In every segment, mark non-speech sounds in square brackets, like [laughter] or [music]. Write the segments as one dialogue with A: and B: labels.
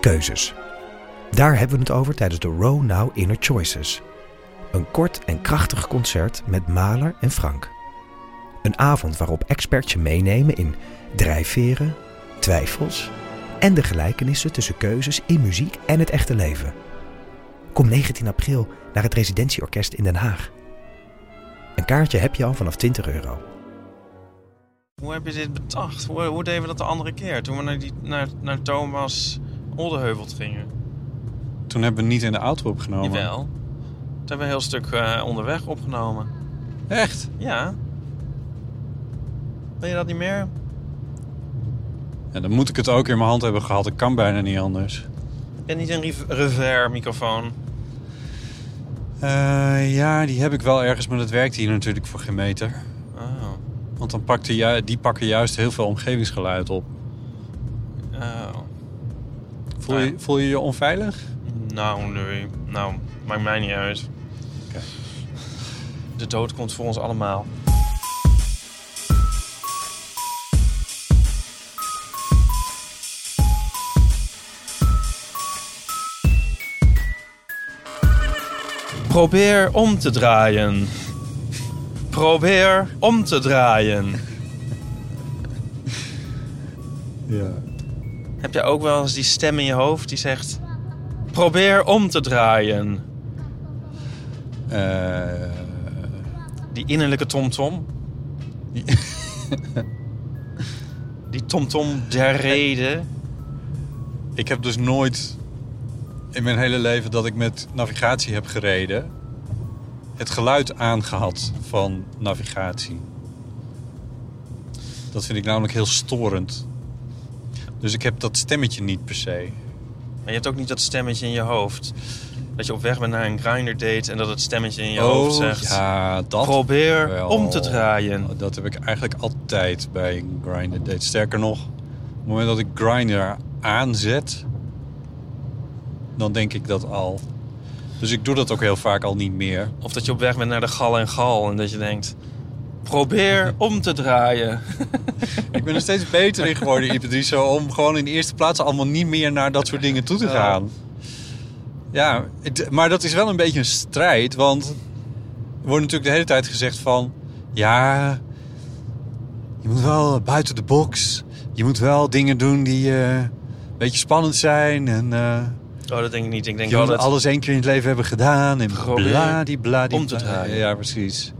A: Keuzes. Daar hebben we het over tijdens de Row Now Inner Choices. Een kort en krachtig concert met Maler en Frank. Een avond waarop experts je meenemen in drijfveren, twijfels en de gelijkenissen tussen keuzes in muziek en het echte leven. Kom 19 april naar het Residentieorkest in Den Haag. Een kaartje heb je al vanaf 20 euro.
B: Hoe heb je dit bedacht? Hoe, hoe deden we dat de andere keer? Toen we naar, die, naar, naar Thomas Oldeheuvelt gingen.
C: Toen hebben we niet in de auto opgenomen.
B: Jawel. Toen hebben we een heel stuk eh, onderweg opgenomen.
C: Echt?
B: Ja. Weet je dat niet meer?
C: Ja, dan moet ik het ook in mijn hand hebben gehad. Ik kan bijna niet anders.
B: Ik ben niet een rev- revers microfoon.
C: Eh, ja, die heb ik wel ergens, maar dat werkt hier natuurlijk voor geen meter.
B: Oh.
C: Want dan pakt die, ju- die pakken juist heel veel omgevingsgeluid op.
B: Oh.
C: Voel je voel je, je onveilig?
B: Nou, nee. Nou, maakt mij niet uit.
C: Oké.
B: De dood komt voor ons allemaal. Probeer om te draaien. Probeer om te draaien.
C: Ja.
B: Heb je ook wel eens die stem in je hoofd die zegt: Probeer om te draaien?
C: Eh,
B: Die innerlijke tomtom. Die- [laughs] Die tomtom der reden.
C: ik heb dus nooit in mijn hele leven dat ik met navigatie heb gereden... het geluid aangehad van navigatie. Dat vind ik namelijk heel storend. Dus ik heb dat stemmetje niet per se.
B: Maar je hebt ook niet dat stemmetje in je hoofd. Dat je op weg bent naar een grinder date en dat het stemmetje in je hoofd zegt:
C: Oh, Ja, dat
B: Probeer
C: wel. Oh,
B: om te draaien.
C: Dat heb ik eigenlijk altijd bij Grindr date. Sterker nog, op het moment dat ik Grindr aanzet, dan denk ik dat al. Dus ik doe dat ook heel vaak al niet meer.
B: Of dat je op weg bent naar de gal en gal en dat je denkt: Probeer om te draaien.
C: Ik ben er steeds beter in geworden, Ipedriso, om gewoon in de eerste plaats allemaal niet meer naar dat soort dingen toe te gaan. Ja, het- maar dat is wel een beetje een strijd, want er wordt natuurlijk de hele tijd gezegd van, ja, je moet wel buiten de box, je moet wel dingen doen die eh, een beetje spannend zijn en eh,
B: Oh, dat denk ik niet. Ik denk
C: je
B: wel
C: moet
B: dat.
C: alles één keer in het leven hebben gedaan en
B: Probeer
C: bladibla.
B: om te draaien.
C: Ja, precies.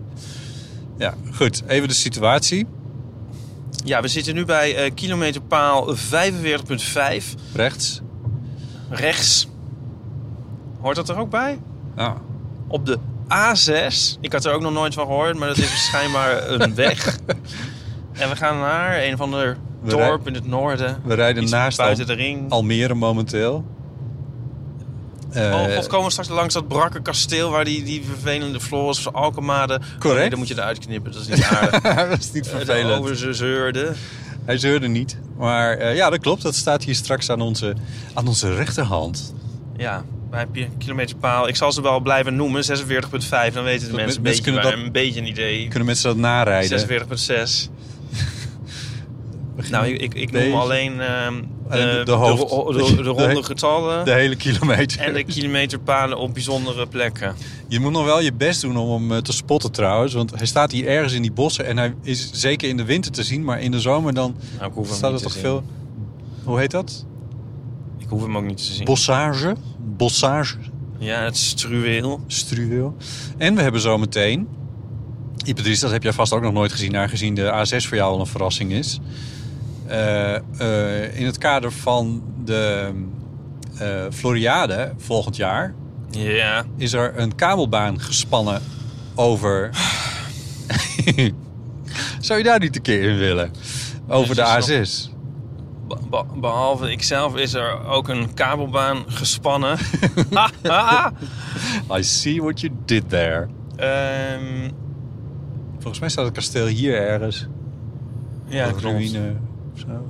C: Ja, goed. Even de situatie.
B: Ja, we zitten nu bij eh, kilometerpaal 45,5
C: Rechts.
B: rechts. Hoort dat er ook bij?
C: Nou,
B: Op de A6. Ik had er ook nog nooit van gehoord, maar dat
C: [laughs]
B: is schijnbaar een weg. En we gaan naar een van de
C: We
B: dorp
C: rij-
B: in het noorden.
C: we rijden
B: Iets
C: naast
B: buiten
C: Al-
B: de ring.
C: Almere momenteel. Eh,
B: oh god, komen we straks langs dat brakke kasteel waar die, die vervelende Floris van Alkemade... Oh,
C: Correct.
B: Nee, dan moet je eruit knippen, dat is niet
C: [laughs]
B: aardig.
C: dat is niet
B: Eh, De
C: vervelend.
B: over ze zeurde.
C: Hij zeurde niet. Maar eh, ja, dat klopt. Dat staat hier straks aan onze, aan onze rechterhand.
B: Ja, bij pi- kilometerpaal. Ik zal ze wel blijven noemen, 46,5. Dan weten de mensen een beetje,
C: mensen kunnen
B: waar-
C: dat-
B: een beetje een idee.
C: Kunnen mensen dat narijden?
B: 46,6. Nou, ik, ik, ik
C: Deze.
B: noem alleen ehm,
C: de
B: eh,
C: hoofd.
B: ro- de, de
C: De-
B: ronde
C: de-
B: getallen
C: De hele kilometer.
B: en de kilometerpalen op bijzondere plekken.
C: Je moet nog wel je best doen om hem eh, te spotten trouwens. Want hij staat hier ergens in die bossen. En hij is zeker in de winter te zien. Maar in de zomer dan
B: Nou, ik hoef hem
C: staat er
B: niet te
C: toch
B: zien.
C: veel... Hoe heet dat?
B: Ik hoef hem ook niet te zien.
C: Bossage. Bossage.
B: Ja, het struweel.
C: struweel. En we hebben zometeen... Ipedris, dat heb jij vast ook nog nooit gezien... aangezien de A6 voor jou al een verrassing is. Eh, eh, in het kader van de eh, Floriade volgend jaar...
B: Ja.
C: is er een kabelbaan gespannen over... [laughs] Zou je daar niet een keer in willen? Over de
B: Netjes
C: A6.
B: be- be- behalve ikzelf is er ook een kabelbaan
C: [laughs]
B: gespannen. [laughs] Ha, ha, ha.
C: I see what you did there.
B: Ehm,
C: Volgens mij staat het kasteel hier ergens.
B: ja,
C: Een
B: klopt.
C: ruïne of zo.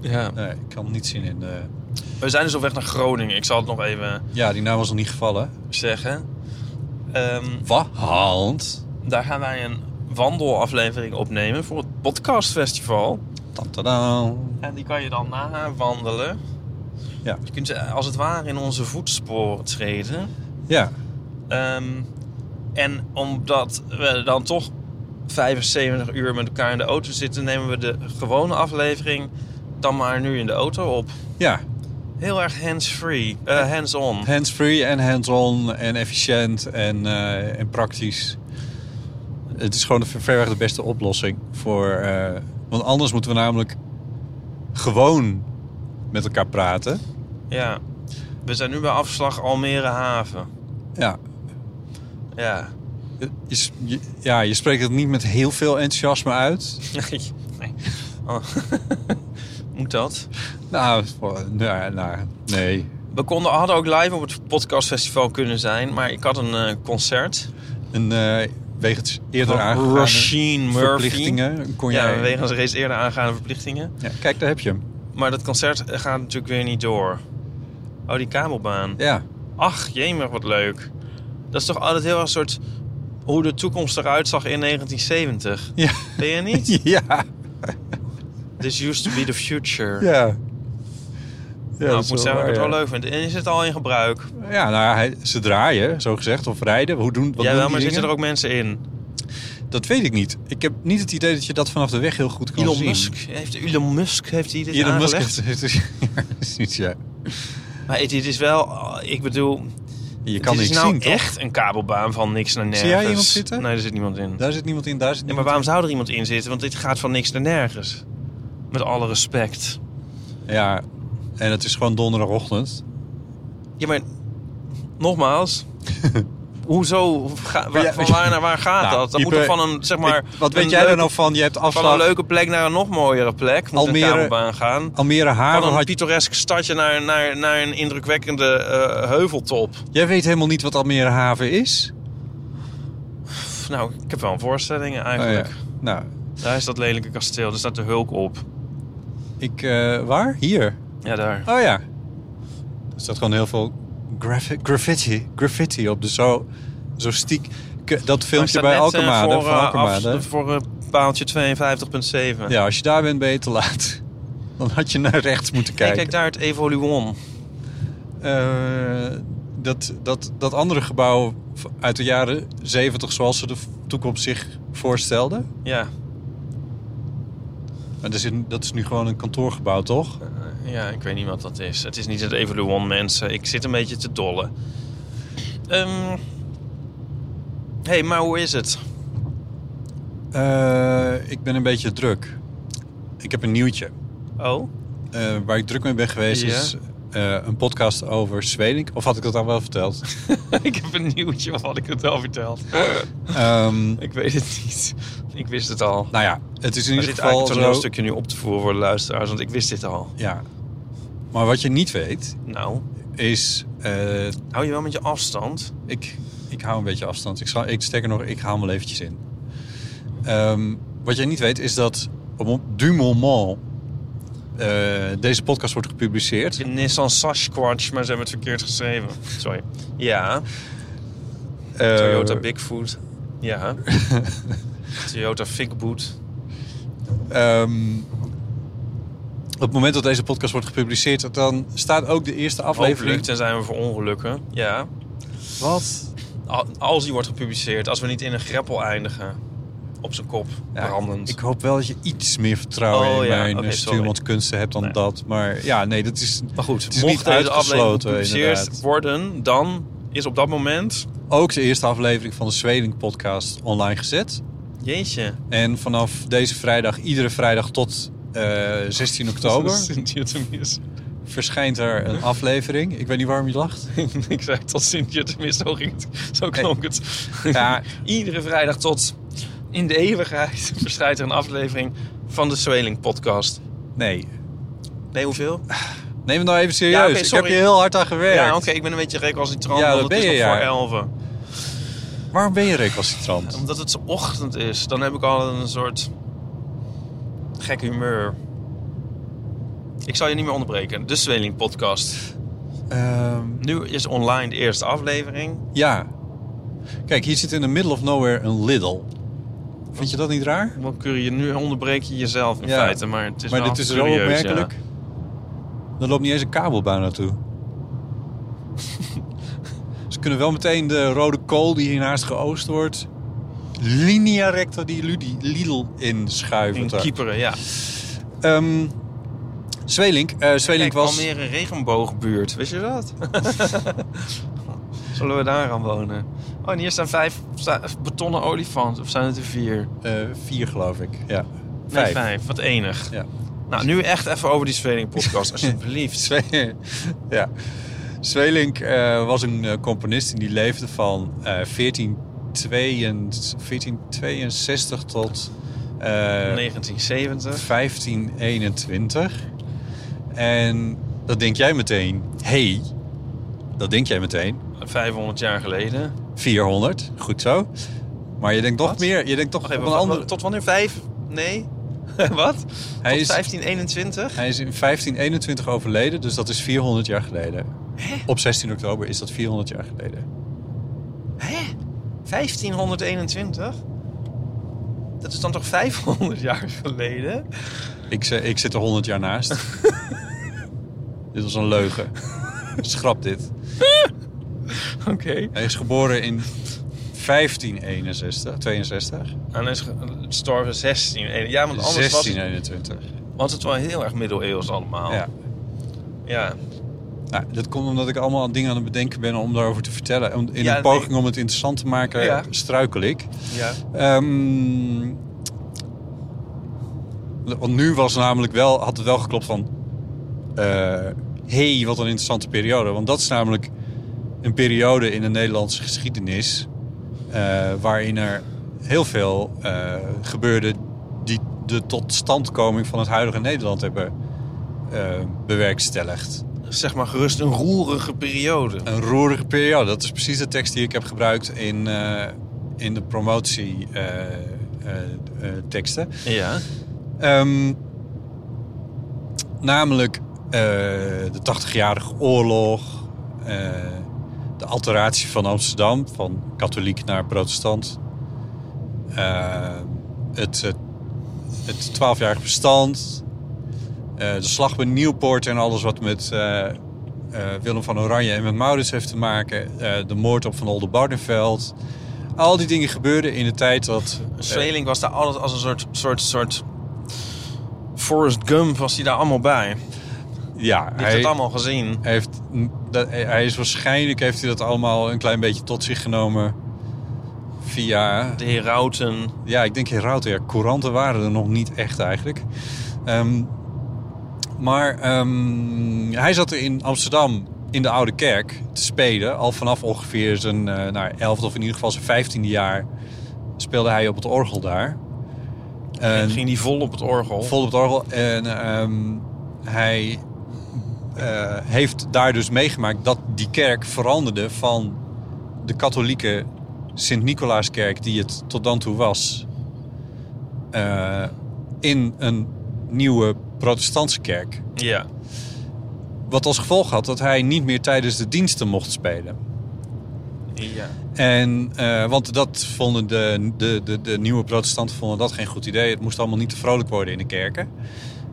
B: Ja.
C: Nee, ik kan het niet zien in eh, de...
B: We zijn dus op weg naar Groningen. Ik zal het nog even
C: Ja, die naam was nog niet gevallen.
B: zeggen. Ehm,
C: Wat? Hand.
B: daar gaan wij een wandelaflevering opnemen voor het podcastfestival.
C: Tantadam.
B: En die kan je dan nawandelen.
C: Ja.
B: Je kunt eh, als het ware in onze voetsporen treden.
C: Ja,
B: Ehm, en omdat we dan toch 75 uur met elkaar in de auto zitten, nemen we de gewone aflevering dan maar nu in de auto op.
C: ja.
B: Heel erg hands-free, eh, hands-on.
C: Hands-free en hands-on en efficiënt en, eh, en praktisch. Het is gewoon de- verreweg de beste oplossing voor. eh, want anders moeten we namelijk gewoon met elkaar praten.
B: Ja. We zijn nu bij afslag Almere Haven.
C: Ja,
B: Ja. [laughs]
C: eh, je, s- je- ja, je spreekt het niet met heel veel enthousiasme uit.
B: Nee. nee. Oh. [laughs] Moet dat?
C: Nou, voor- nou, nou nee.
B: We konden, hadden ook live op het podcastfestival kunnen zijn, maar ik had een eh, concert.
C: Een, eh wegens eerder
B: Van
C: aangegane
B: Rasheen Murphy.
C: verplichtingen kon
B: Ja,
C: jij...
B: wegens reeds eerder aangaande verplichtingen.
C: Ja, kijk, daar heb je hem.
B: Maar dat concert eh, gaat natuurlijk weer niet door. Oh, die kabelbaan.
C: Ja,
B: Ach, jemig, wat leuk. Dat is toch altijd heel erg een soort... hoe de toekomst eruit zag in 1970.
C: ja,
B: Ben je niet?
C: [laughs] ja.
B: This used to be the future.
C: Ja. ja
B: nou,
C: dat
B: ik
C: is
B: moet zeggen dat ik
C: waar,
B: het wel
C: ja.
B: leuk vind. En is het al in gebruik?
C: Ja, nou, ja, hij- ze draaien, zo gezegd, of rijden. Hoe doen, wat
B: Jij
C: doen
B: wel,
C: die
B: maar zitten er
C: dingen?
B: ook mensen in?
C: Dat weet ik niet. Ik heb niet het idee dat je dat vanaf de weg heel goed kan
B: Elon
C: zien.
B: Musk, heeft, Elon Musk heeft hij dit
C: Elon Musk
B: aangelegd?
C: heeft, [laughs] heeft dus- ja, precies, ja.
B: Maar het, het is wel... oh, Ik bedoel,
C: Je kan
B: dit is
C: niks
B: nou
C: zien, toch?
B: echt een kabelbaan van niks naar nergens.
C: jij iemand zitten?
B: Nee, er zit niemand in.
C: Daar zit niemand in, daar zit
B: Ja, maar
C: niemand
B: waarom zou er iemand in zitten? Want dit gaat van niks naar nergens. Met alle respect.
C: in. Ja, en het is gewoon donderdagochtend.
B: Ja, maar
C: [laughs]
B: nogmaals. Hoezo? Ga- waar-
C: ja,
B: van waar naar waar gaat
C: Nou,
B: dat? Dat moet
C: Ipe,
B: toch van een, zeg maar...
C: Ik- wat weet
B: een
C: jij er
B: leuke-
C: nou van? Je hebt
B: Van een
C: afslag
B: leuke plek naar een nog mooiere plek. Moet
C: Almere-
B: een kabelbaan gaan.
C: Almere Haven.
B: Van een
C: Had...
B: pittoresk stadje naar, naar, naar een indrukwekkende eh, heuveltop.
C: Jij weet helemaal niet wat Almere Haven is.
B: Pff, nou, ik heb wel een voorstelling
C: Oh, ja.
B: eigenlijk.
C: Nou,
B: Daar is dat lelijke kasteel. Daar staat de hulk op.
C: ik... eh, waar? Hier.
B: Ja, daar.
C: Oh ja. Er staat gewoon heel veel graffi- graffiti, graffiti op. Dus zo, zo stiek. K- Dat filmpje bij
B: Maar ik sta net, eh,
C: Alkemade.
B: Voor,
C: van
B: eh, af-
C: Alkemade.
B: voor eh, paaltje 52.7.
C: Ja, als je daar bent, ben je te laat. [laughs] Dan had je naar rechts moeten
B: Kijk.
C: kijken.
B: kijk daar het Evoluon.
C: Eh, dat, dat, dat andere gebouw v- uit de jaren 70, zoals ze de v- toekomst zich voorstelde.
B: Ja,
C: Maar dat is, in- dat is nu gewoon een kantoorgebouw, toch?
B: eh, ja, ik weet niet wat dat is. Het is niet het Evoluon, mensen. Ik zit een beetje te dollen. Ehm hey, maar hoe is het?
C: Eh, ik ben een beetje druk. Ik heb een nieuwtje.
B: Oh, [laughs]
C: Eh, waar ik druk mee ben geweest
B: Ja.
C: is eh, een podcast over Zweden. Of had ik dat al wel
B: [laughs]
C: verteld?
B: ik heb een nieuwtje, wat had ik het al verteld?
C: Ehm,
B: ik weet het niet. Ik wist het al.
C: nou ja, het is in
B: Er
C: ieder
B: zit
C: geval
B: eigenlijk
C: zo.
B: een toneelstukje nu op te voeren voor de luisteraars, want ik wist dit al.
C: Ja. Maar wat je niet weet
B: Nou,
C: is, eh,
B: hou je wel met je afstand?
C: ik, ik hou een beetje afstand. Ik, zal, ik steek er nog, ik haal hem wel eventjes in. Ehm, wat je niet weet is dat op du moment eh, deze podcast wordt gepubliceerd.
B: De Nissan Sasquatch, maar ze hebben het verkeerd geschreven. Sorry. Ja,
C: Eh,
B: Toyota Bigfoot.
C: [laughs]
B: Ja. Toyota Figboot.
C: Ehm, op het moment dat deze podcast wordt gepubliceerd, dan staat ook de eerste
B: Hopelijk,
C: aflevering.
B: tenzij we voor ongelukken. Ja.
C: Wat?
B: Al- Als die wordt gepubliceerd, als we niet in een greppel eindigen. Op zijn kop,
C: Ja,
B: brandend.
C: Ik hoop wel dat je iets meer vertrouwen
B: Oh,
C: in
B: ja,
C: mijn
B: oké,
C: eh,
B: sorry.
C: stuurmanskunsten hebt dan
B: Nee.
C: dat. Maar ja, nee, dat is,
B: maar goed,
C: het is
B: mocht
C: niet
B: deze aflevering
C: uitgesloten,
B: gepubliceerd
C: inderdaad.
B: worden, dan is op dat moment...
C: ook de eerste aflevering van de Zweden podcast online gezet.
B: Jeetje.
C: En vanaf deze vrijdag, iedere vrijdag tot eh,
B: [laughs]
C: 16 oktober,
B: Sint-Jutemis.
C: verschijnt er een aflevering. Ik weet niet waarom je lacht.
B: [laughs] ik zei tot Sint-Jutemis, zo, ging het- zo klonk het.
C: Ja,
B: [laughs] Iedere vrijdag tot in [laughs] de eeuwigheid verschijnt er een aflevering van de Zweling podcast.
C: nee.
B: Nee, hoeveel?
C: Neem het nou even serieus.
B: Ja, oké,
C: ik heb
B: sorry.
C: je heel hard aan gewerkt.
B: Ja, oké, ik ben een beetje recalcitrant.
C: Ja,
B: Ja,
C: dat
B: dat
C: ben
B: is
C: je,
B: nog
C: ja.
B: voor elven.
C: Waarom ben je recalcitrant?
B: Omdat het ochtend is, dan heb ik al een soort gek humeur. Ik zal je niet meer onderbreken. De Zweling podcast.
C: Ehm,
B: Nu is online de eerste aflevering.
C: ja. Kijk, hier zit in the middle of nowhere een Lidl. Vind je dat niet raar?
B: Dan kun je nu onderbreek je jezelf in
C: Ja.
B: feite, maar het is
C: maar
B: wel
C: dit is zo
B: curieus, ja.
C: opmerkelijk. Er loopt niet eens een
B: [laughs]
C: kabelbaan naartoe. Ze kunnen wel meteen de rode kool die hiernaast geoost wordt... linea recta die Ludi- Lidl inschuiven.
B: In
C: daar.
B: Kieperen, ja.
C: Ehm, Zwelink. eh, Zwelink
B: Kijk,
C: was...
B: Almere een regenboogbuurt, wist je dat?
C: [laughs]
B: Zullen we daar gaan wonen? Oh, en hier staan vijf sta- betonnen olifanten. Of zijn het er vier?
C: eh, vier, geloof ik. Ja.
B: Nee, vijf. Wat enig.
C: Ja.
B: Nou, nu echt even over die Zweling
C: [laughs]
B: podcast, alsjeblieft.
C: Zwe- ja. Zwelink eh, was een eh, componist en die leefde van eh 1462 1462 tot eh,
B: 1970.
C: 1521. En dat denk jij meteen. hey, dat denk jij meteen.
B: 500 jaar geleden.
C: 400, goed zo. Maar je denkt toch
B: Wat?
C: meer. Je denkt toch
B: Wacht
C: op
B: even,
C: een
B: wa-
C: andere...
B: wa- tot wanneer? Vijf? Nee? [laughs] Wat?
C: Hij
B: tot
C: is-
B: 1521?
C: Hij is in 1521 overleden, dus dat is 400 jaar geleden. Op 16 oktober is dat 400 jaar geleden.
B: Hè? 1521? Dat is dan toch 500 jaar geleden? [laughs]
C: Ik, ze- ik zit er 100 jaar naast. dit was een leugen. Schrap dit.
B: Oké.
C: Hij is geboren in 1561, 62.
B: En hij is ge- gestorven 16. Ja, want anders was het,
C: 1621.
B: was het wel heel erg middeleeuws allemaal.
C: Ja.
B: ja.
C: Nou, dat komt omdat ik allemaal dingen aan het bedenken ben om daarover te vertellen. Om- In
B: Ja,
C: een poging
B: nee.
C: om het interessant te maken,
B: Ja.
C: struikel ik.
B: ja.
C: Ehm, want nu was namelijk wel, had het wel geklopt van... eh hey, wat een interessante periode. Want dat is namelijk een periode in de Nederlandse geschiedenis... eh, waarin er heel veel eh, gebeurde... die de totstandkoming van het huidige Nederland hebben eh, bewerkstelligd.
B: Zeg maar gerust een roerige periode.
C: Een roerige periode. Dat is precies de tekst die ik heb gebruikt in, eh, in de eh, promotieteksten.
B: Ja.
C: Ehm, namelijk eh, de 80-jarige oorlog, eh, de alteratie van Amsterdam, van katholiek naar protestant, eh, het, eh, het 12-jarig bestand, eh, de slag bij Nieuwpoort en alles wat met eh, eh, Willem van Oranje en met Maurits heeft te maken, eh, de moord op Van Oldenbarneveld. Al die dingen gebeurden in de tijd dat... eh,
B: Zweling was daar altijd als een soort, soort, soort... Forrest Gump was hij daar allemaal bij. Die
C: eh, ja,
B: heeft het
C: hij-
B: allemaal gezien.
C: Hij heeft, dat, hij is waarschijnlijk heeft hij dat allemaal een klein beetje tot zich genomen via...
B: De herauten.
C: Ja, ik denk Herauten. Ja, couranten waren er nog niet echt eigenlijk. Ehm, maar ehm, hij zat in Amsterdam in de Oude Kerk te spelen. Al vanaf ongeveer zijn eh nou, elfde of in ieder geval zijn vijftiende jaar speelde hij op het orgel daar. En-
B: ging die vol op het orgel.
C: vol op het orgel. En ehm, hij eh, heeft daar dus meegemaakt dat die kerk veranderde van de katholieke Sint-Nicolaaskerk, die het tot dan toe was, eh, in een nieuwe protestantse kerk.
B: Ja.
C: Wat als gevolg had dat hij niet meer tijdens de diensten mocht spelen.
B: Ja.
C: En, eh, want dat vonden de, de, de, de nieuwe protestanten vonden dat geen goed idee. Het moest allemaal niet te vrolijk worden in de kerken.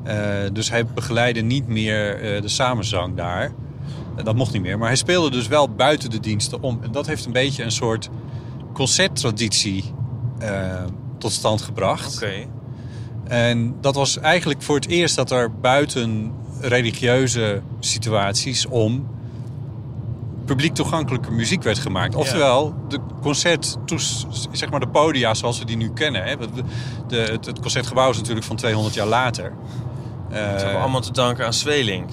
C: Eh, dus hij begeleidde niet meer eh, de samenzang daar. Eh, dat mocht niet meer. Maar hij speelde dus wel buiten de diensten om. En dat heeft een beetje een soort concerttraditie eh, tot stand gebracht.
B: Oké.
C: En dat was eigenlijk voor het eerst dat er buiten religieuze situaties om publiek toegankelijke muziek werd gemaakt. Oftewel, de concert, zeg maar de podia zoals we die nu kennen. Hè. Want we- De, het, het concertgebouw is natuurlijk van 200 jaar later. Eh,
B: Dat hebben we allemaal te danken aan Zweling.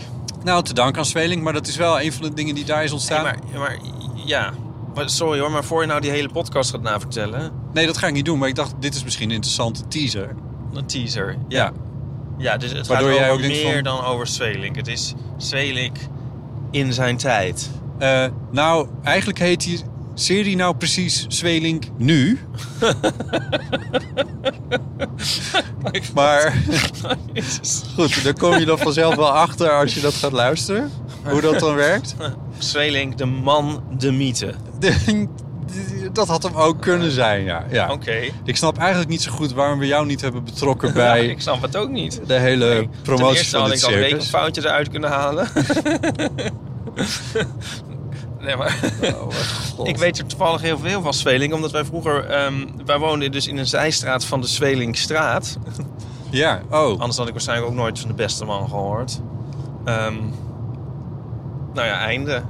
C: Nou, te danken aan Zweling, maar dat is wel een van de dingen die daar is
B: Hey,
C: ontstaan.
B: maar, maar ja, Maar sorry hoor, maar voor je nou die hele podcast gaat navertellen,
C: Nee, dat ga ik niet doen, maar ik dacht, dit is misschien een interessante teaser.
B: een teaser.
C: Ja.
B: Ja, dus het
C: Waardoor
B: gaat
C: jij
B: over
C: ook denkt
B: meer
C: van-
B: dan over Zwelik. Het is Zwelik in zijn tijd.
C: Eh, nou, eigenlijk heet die serie nou precies Zwelink
B: [laughs]
C: nu. maar [laughs] goed, daar kom je dan vanzelf wel achter als je dat gaat luisteren. Hoe dat dan werkt. [laughs]
B: Zweling, de man, de mythe.
C: Dat had hem ook kunnen zijn, ja. ja.
B: Oké. [laughs]
C: Ik snap eigenlijk niet zo goed waarom we jou niet hebben betrokken
B: Ja,
C: bij
B: ik snap het ook niet.
C: de hele
B: Nee, Ten
C: promotie
B: eerste
C: van
B: had
C: dit
B: ik al een
C: circus.
B: rekenfoutje eruit kunnen halen. [laughs] nee, [laughs] maar... Ik weet er toevallig heel veel van Zweling, omdat wij vroeger... ehm, wij woonden dus in een zijstraat van de Zwelingstraat.
C: Ja, oh.
B: Anders had ik waarschijnlijk ook nooit van de beste man gehoord. Ehm, nou ja, einde.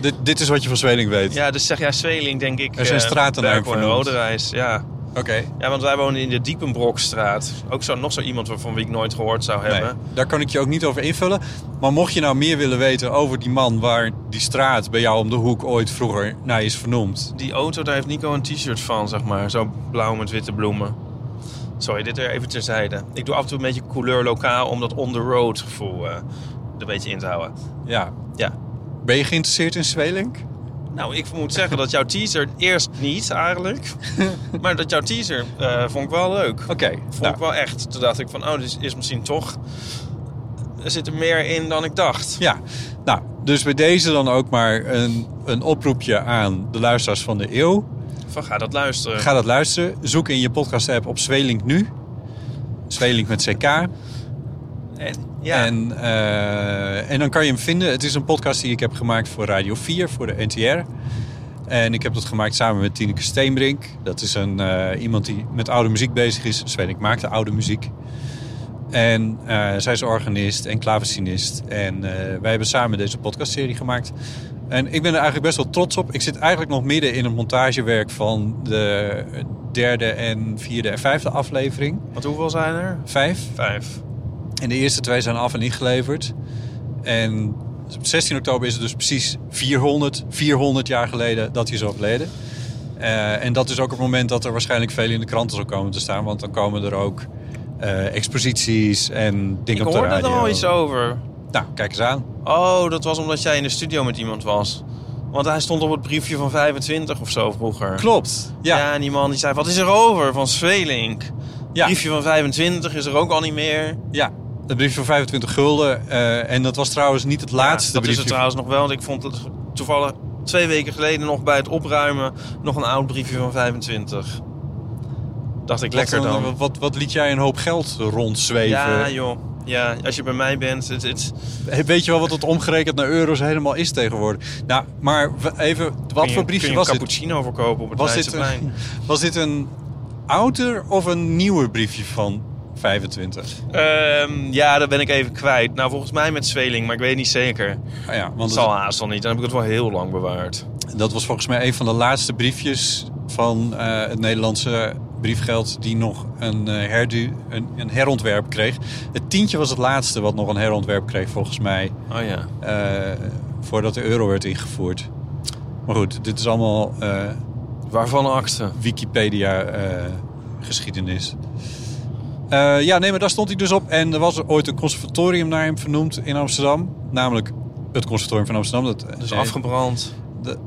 C: Dit, dit is wat je van Zweling weet.
B: Ja, dus zeg jij Zweling, denk ik.
C: Er zijn
B: eh,
C: straten naar hem
B: Berkel en
C: vernoemd.
B: Roderijs, ja.
C: Oké.
B: Ja, want wij wonen in de Diepenbrokstraat. Ook zo, nog zo iemand van wie ik nooit gehoord zou
C: Nee,
B: hebben.
C: daar kan ik je ook niet over invullen. Maar mocht je nou meer willen weten over die man waar die straat bij jou om de hoek ooit vroeger naar is vernoemd.
B: Die auto, daar heeft Nico een t-shirt van, zeg maar. Zo blauw met witte bloemen. Sorry, dit er even terzijde. Ik doe af en toe een beetje couleur lokaal om dat on-the-road gevoel eh, er een beetje in te houden.
C: Ja.
B: Ja.
C: Ben je geïnteresseerd in Zwelink?
B: Nou, ik moet zeggen dat jouw teaser eerst niet
C: [laughs]
B: eigenlijk. maar dat jouw teaser eh, vond ik wel leuk. Vond
C: Oké.
B: ik
C: nou,
B: wel echt. Toen dacht ik van, oh, dit is misschien toch... Er zit er meer in dan ik dacht.
C: ja. Nou, dus bij deze dan ook maar een, een oproepje aan de luisteraars van de eeuw.
B: Van, ga dat luisteren.
C: Ga dat luisteren. Zoek in je podcast app op Zwelink nu. Zwelink met CK.
B: En, ja.
C: En, eh, en dan kan je hem vinden. Het is een podcast die ik heb gemaakt voor Radio 4, voor de NTR. En ik heb dat gemaakt samen met Tineke Steenbrink. Dat is een, eh, iemand die met oude muziek bezig is. Sven, ik maakte oude muziek. En eh, zij is organist en klavecinist. En eh, wij hebben samen deze podcastserie gemaakt. En ik ben er eigenlijk best wel trots op. Ik zit eigenlijk nog midden in het montagewerk van de derde en vierde en vijfde aflevering.
B: Want hoeveel zijn er?
C: Vijf.
B: Vijf.
C: En de eerste twee zijn af en ingeleverd. En op 16 oktober is het dus precies 400, 400 jaar geleden dat hij is overleden. Eh, en dat is ook het moment dat er waarschijnlijk veel in de kranten zal komen te staan. Want dan komen er ook eh, exposities en
B: Ik
C: dingen op de
B: hoorde
C: radio.
B: er al iets over.
C: Nou, kijk eens aan.
B: Oh, dat was omdat jij in de studio met iemand was. Want hij stond op het briefje van 25 of zo vroeger.
C: Klopt. Ja,
B: Ja, en die man die zei, wat is er over van Svelink?
C: ja,
B: Briefje van 25 is er ook al niet meer.
C: ja. Het briefje van 25 gulden. eh, en dat was trouwens niet het laatste
B: Ja, dat is
C: briefje.
B: het trouwens nog wel. Want ik vond het toevallig twee weken geleden nog bij het opruimen nog een oud briefje van 25. Dacht ik,
C: Wat- eh,
B: lekker dan.
C: Wat, wat liet jij een hoop geld rondzweven?
B: Ja, joh. Ja, als je bij mij bent, het, het,
C: Hey, Weet je wel wat dat omgerekend naar euro's helemaal is tegenwoordig? Nou, maar w- even, wat
B: kun
C: voor
B: je, kun
C: briefje
B: je
C: was
B: een
C: dit?
B: cappuccino verkopen op het
C: Was dit,
B: Leidseplein.
C: een, was dit een ouder of een nieuwer briefje van 25?
B: Ehm, ja, dat ben ik even kwijt. Nou, volgens mij met Zweling, maar ik weet niet zeker.
C: Ah ja,
B: Dat
C: want
B: zal
C: dat,
B: haast al niet. Dan heb ik het wel heel lang bewaard.
C: dat was volgens mij een van de laatste briefjes van eh, het Nederlandse briefgeld die nog een, eh, herdu, een, een herontwerp kreeg. Het tientje was het laatste wat nog een herontwerp kreeg volgens mij.
B: Oh ja.
C: eh, voordat de euro werd ingevoerd. Maar goed, dit is allemaal... eh,
B: Waarvan akte?
C: Wikipedia-geschiedenis. eh, ja, nee, maar daar stond hij dus op. En er was er ooit een conservatorium naar hem vernoemd in Amsterdam. Namelijk het conservatorium van Amsterdam. Dat,
B: Dus
C: eh,
B: afgebrand.
C: de-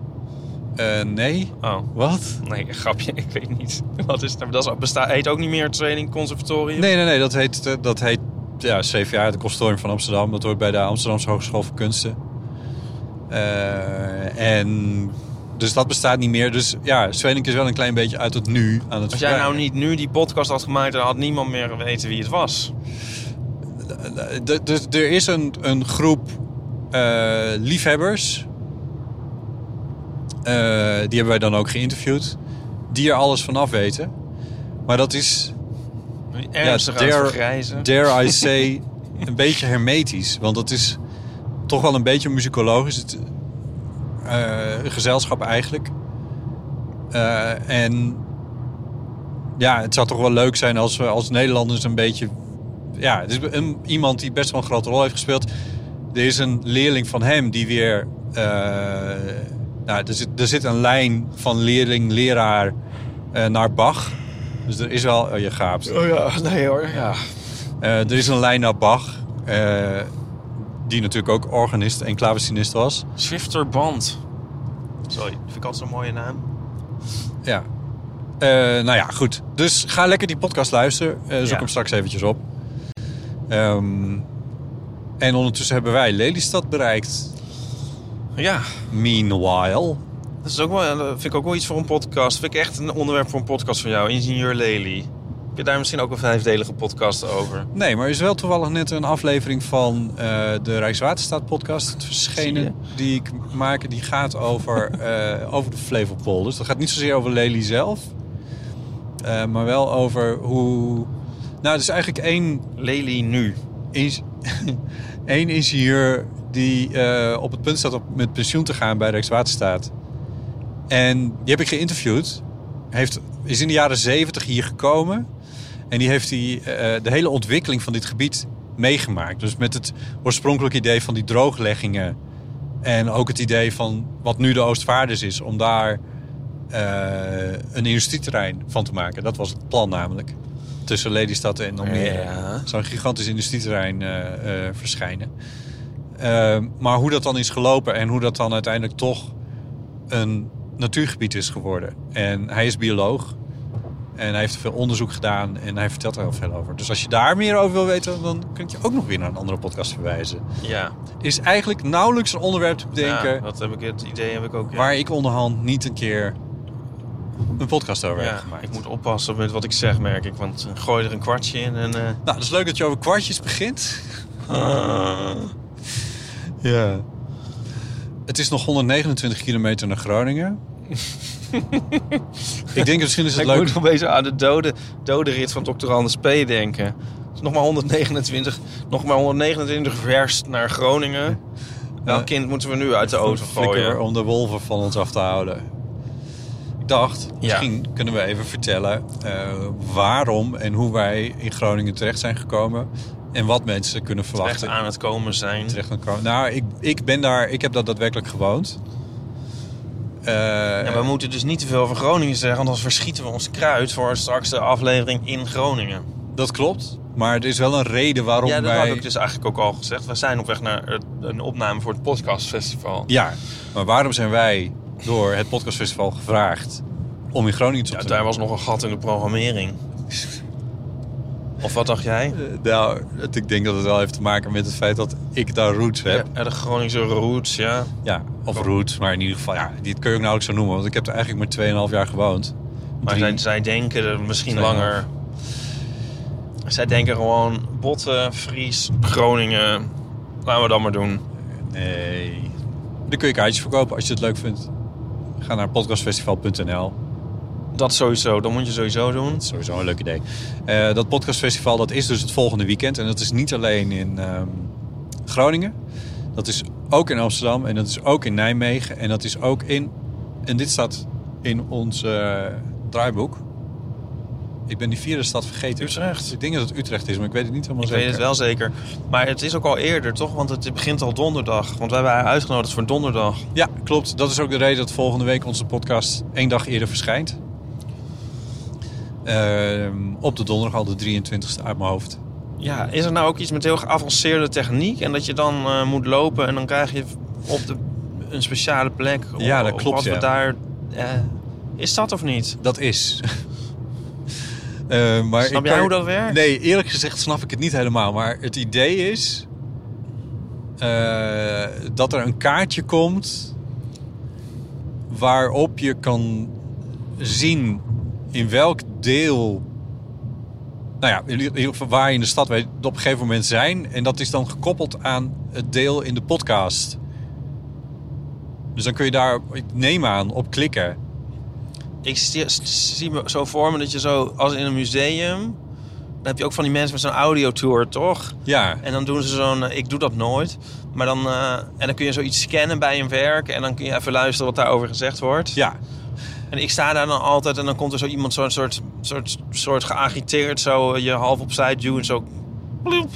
C: eh, nee.
B: Oh.
C: Wat?
B: Nee, een grapje. [laughs] Ik weet niet. Wat is het? Dat is- bestaat, heet ook niet meer het Training Conservatorium.
C: Nee, nee, nee. Dat heet, eh, dat heet ja, CVA, het conservatorium van Amsterdam. Dat hoort bij de Amsterdamse Hogeschool voor Kunsten. Eh, en... Dus dat bestaat niet meer. Dus ja, Zwening is wel een klein beetje uit het nu aan het
B: Als jij nou
C: verdwijnen.
B: niet nu die podcast had gemaakt, dan had niemand meer geweten wie het was.
C: D- Dus er is een, een groep eh, liefhebbers. Eh, die hebben wij dan ook geïnterviewd. Die er alles vanaf weten. Maar dat is,
B: Ernstig aan het
C: dare-
B: vergrijzen. [laughs]
C: dare I say, een beetje hermetisch. Want dat is toch wel een beetje muzikologisch. Het, eh, gezelschap eigenlijk. Eh, en ja, het zou toch wel leuk zijn als we als Nederlanders een beetje... Ja, het is een, iemand die best wel een grote rol heeft gespeeld. Er is een leerling van hem die weer... eh, nou, er zit, er zit een lijn van eh, leerling-leraar naar Bach. Dus er is wel... Oh, je gaapt.
B: Oh ja, nee hoor. Ja.
C: Eh, Eh, er is een Leina Bach, eh, die natuurlijk ook organist en klavecinist was.
B: Swifter Band. Sorry, vind ik altijd zo'n mooie naam.
C: Ja. Eh, nou ja, goed. Dus ga lekker die podcast luisteren. Eh, zoek
B: Ja.
C: hem straks eventjes op. Ehm, en ondertussen hebben wij Lelystad bereikt.
B: Ja,
C: Meanwhile.
B: dat is ook wel, dat vind ik ook wel iets voor een podcast. Vind ik echt een onderwerp voor een podcast van jou, Ingenieur Lely. Heb je daar misschien ook een vijfdelige podcast over?
C: Nee, maar er is wel toevallig net een aflevering van eh, de Rijkswaterstaat podcast
B: Zie
C: verschenen. Die ik maak, die gaat
B: [laughs]
C: over, eh, over de Flevopol. Dus dat gaat niet zozeer over Lely zelf. eh, maar wel over hoe... Nou, er is eigenlijk één
B: Lely nu.
C: [laughs] Eens- Eén ingenieur die eh, op het punt staat om met pensioen te gaan bij Rijkswaterstaat. En die heb ik geïnterviewd. Heeft, is in de jaren zeventig hier gekomen. En die heeft die, eh, de hele ontwikkeling van dit gebied meegemaakt. Dus met het oorspronkelijke idee van die droogleggingen. En ook het idee van wat nu de Oostvaarders is. Om daar eh, een industrieterrein van te maken. Dat was het plan namelijk. Tussen Lelystad en Almere
B: Ja.
C: zo'n gigantisch industrieterrein eh, eh, verschijnen. Eh, maar hoe dat dan is gelopen en hoe dat dan uiteindelijk toch een natuurgebied is geworden. En hij is bioloog en hij heeft veel onderzoek gedaan en hij vertelt er heel veel over. Dus als je daar meer over wil weten, dan kun ik je ook nog weer naar een andere podcast verwijzen.
B: Ja,
C: Is eigenlijk nauwelijks een onderwerp te bedenken
B: Ja, dat heb ik, het idee heb ik ook. Ja.
C: waar ik onderhand niet een keer een podcast over heb
B: ja,
C: gemaakt.
B: ik moet oppassen met wat ik zeg, merk ik. Want eh, gooi er een kwartje in en... eh,
C: Nou, dat is leuk dat je over kwartjes begint.
B: Ah.
C: Ja. Het is nog 129 kilometer naar
B: [laughs]
C: Groningen. ik denk misschien is het
B: ik
C: leuk.
B: moet nog bezig aan de dode, dode rit van Dr. Anders P. denken. Het is nog maar 129, nog maar 129 vers naar Groningen. Welk
C: Ja.
B: kind moeten we nu uit de auto
C: Flikker
B: gooien?
C: om de wolven van ons af te houden. Ik dacht, misschien kunnen we even vertellen eh, waarom en hoe wij in Groningen terecht zijn gekomen. En wat mensen kunnen
B: Echt
C: verwachten.
B: aan het komen zijn.
C: Terecht aan komen. Nou, ik, ik ben daar, ik heb dat daadwerkelijk gewoond. Eh,
B: En we moeten dus niet te veel van Groningen zeggen, want anders verschieten we ons kruid voor straks de aflevering in Groningen.
C: dat klopt. Maar er is wel een reden waarom
B: ja, dat
C: wij...
B: had ik dus eigenlijk ook al gezegd. We zijn op weg naar het- een opname voor het podcastfestival.
C: Ja, maar waarom zijn wij door het podcastfestival gevraagd om in Groningen te
B: Ja,
C: optreden?
B: daar was nog een gat in de programmering. Of wat dacht jij?
C: Eh, Nou, het- ik denk dat het wel heeft te maken met het feit dat ik daar roots heb.
B: Ja, de Groningse roots, ja.
C: Ja, of roots, maar in ieder geval, ja, dit kun je ook nauwelijks zo noemen, want ik heb er eigenlijk maar 2,5 jaar gewoond.
B: Maar
C: Drie.
B: zij, zij denken er misschien
C: Tweeënhalf.
B: langer. Zij denken gewoon Botten, Fries, Groningen. Laten we dat maar doen.
C: Nee. Dan kun je kaartjes verkopen als je het leuk vindt. Ga naar podcastfestival.nl.
B: Dat sowieso, dat moet je sowieso doen.
C: Sowieso een leuk idee. Eh, dat podcastfestival dat is dus het volgende weekend. En dat is niet alleen in ehm, Groningen. Dat is ook in Amsterdam. En dat is ook in Nijmegen. En dat is ook in... En dit staat in ons eh, draaiboek. Ik ben die vierde stad vergeten.
B: Utrecht.
C: Ik denk dat het Utrecht is, maar ik weet het niet helemaal
B: Ik
C: zeker.
B: weet het wel zeker. Maar het is ook al eerder, toch? Want het begint al donderdag. Want wij waren uitgenodigd voor donderdag.
C: Ja, klopt. Dat is ook de reden dat volgende week onze podcast één dag eerder verschijnt. Ehm, op de donderdag al de 23e uit mijn hoofd.
B: Ja, is er nou ook iets met heel geavanceerde techniek? En dat je dan eh, moet lopen en dan krijg je op de, een speciale plek. Op-
C: Ja, dat
B: op
C: klopt,
B: Wat
C: ja.
B: we daar, eh, is dat of niet?
C: Dat is. [laughs] Eh, maar
B: Snap
C: ik
B: jij
C: kan-
B: hoe dat werkt?
C: Nee, eerlijk gezegd snap ik het niet helemaal. Maar het idee is eh, dat er een kaartje komt waarop je kan zien in welk deel, nou ja, in ieder geval waar je in de stad weet, op een gegeven moment zijn. En dat is dan gekoppeld aan het deel in de podcast. Dus dan kun je daar, ik neem aan, op klikken.
B: Ik zie, zie me zo voor me dat je zo, als in een museum... dan heb je ook van die mensen met zo'n audiotour, toch?
C: Ja.
B: En dan doen ze zo'n, eh, ik doe dat nooit. Maar dan, eh, en dan kun je zoiets scannen bij een werk... en dan kun je even luisteren wat daarover gezegd wordt.
C: Ja,
B: En ik sta daar dan altijd en dan komt er zo iemand zo'n soort, soort, soort geagiteerd... zo eh, je half opzij duwen, zo... bloep.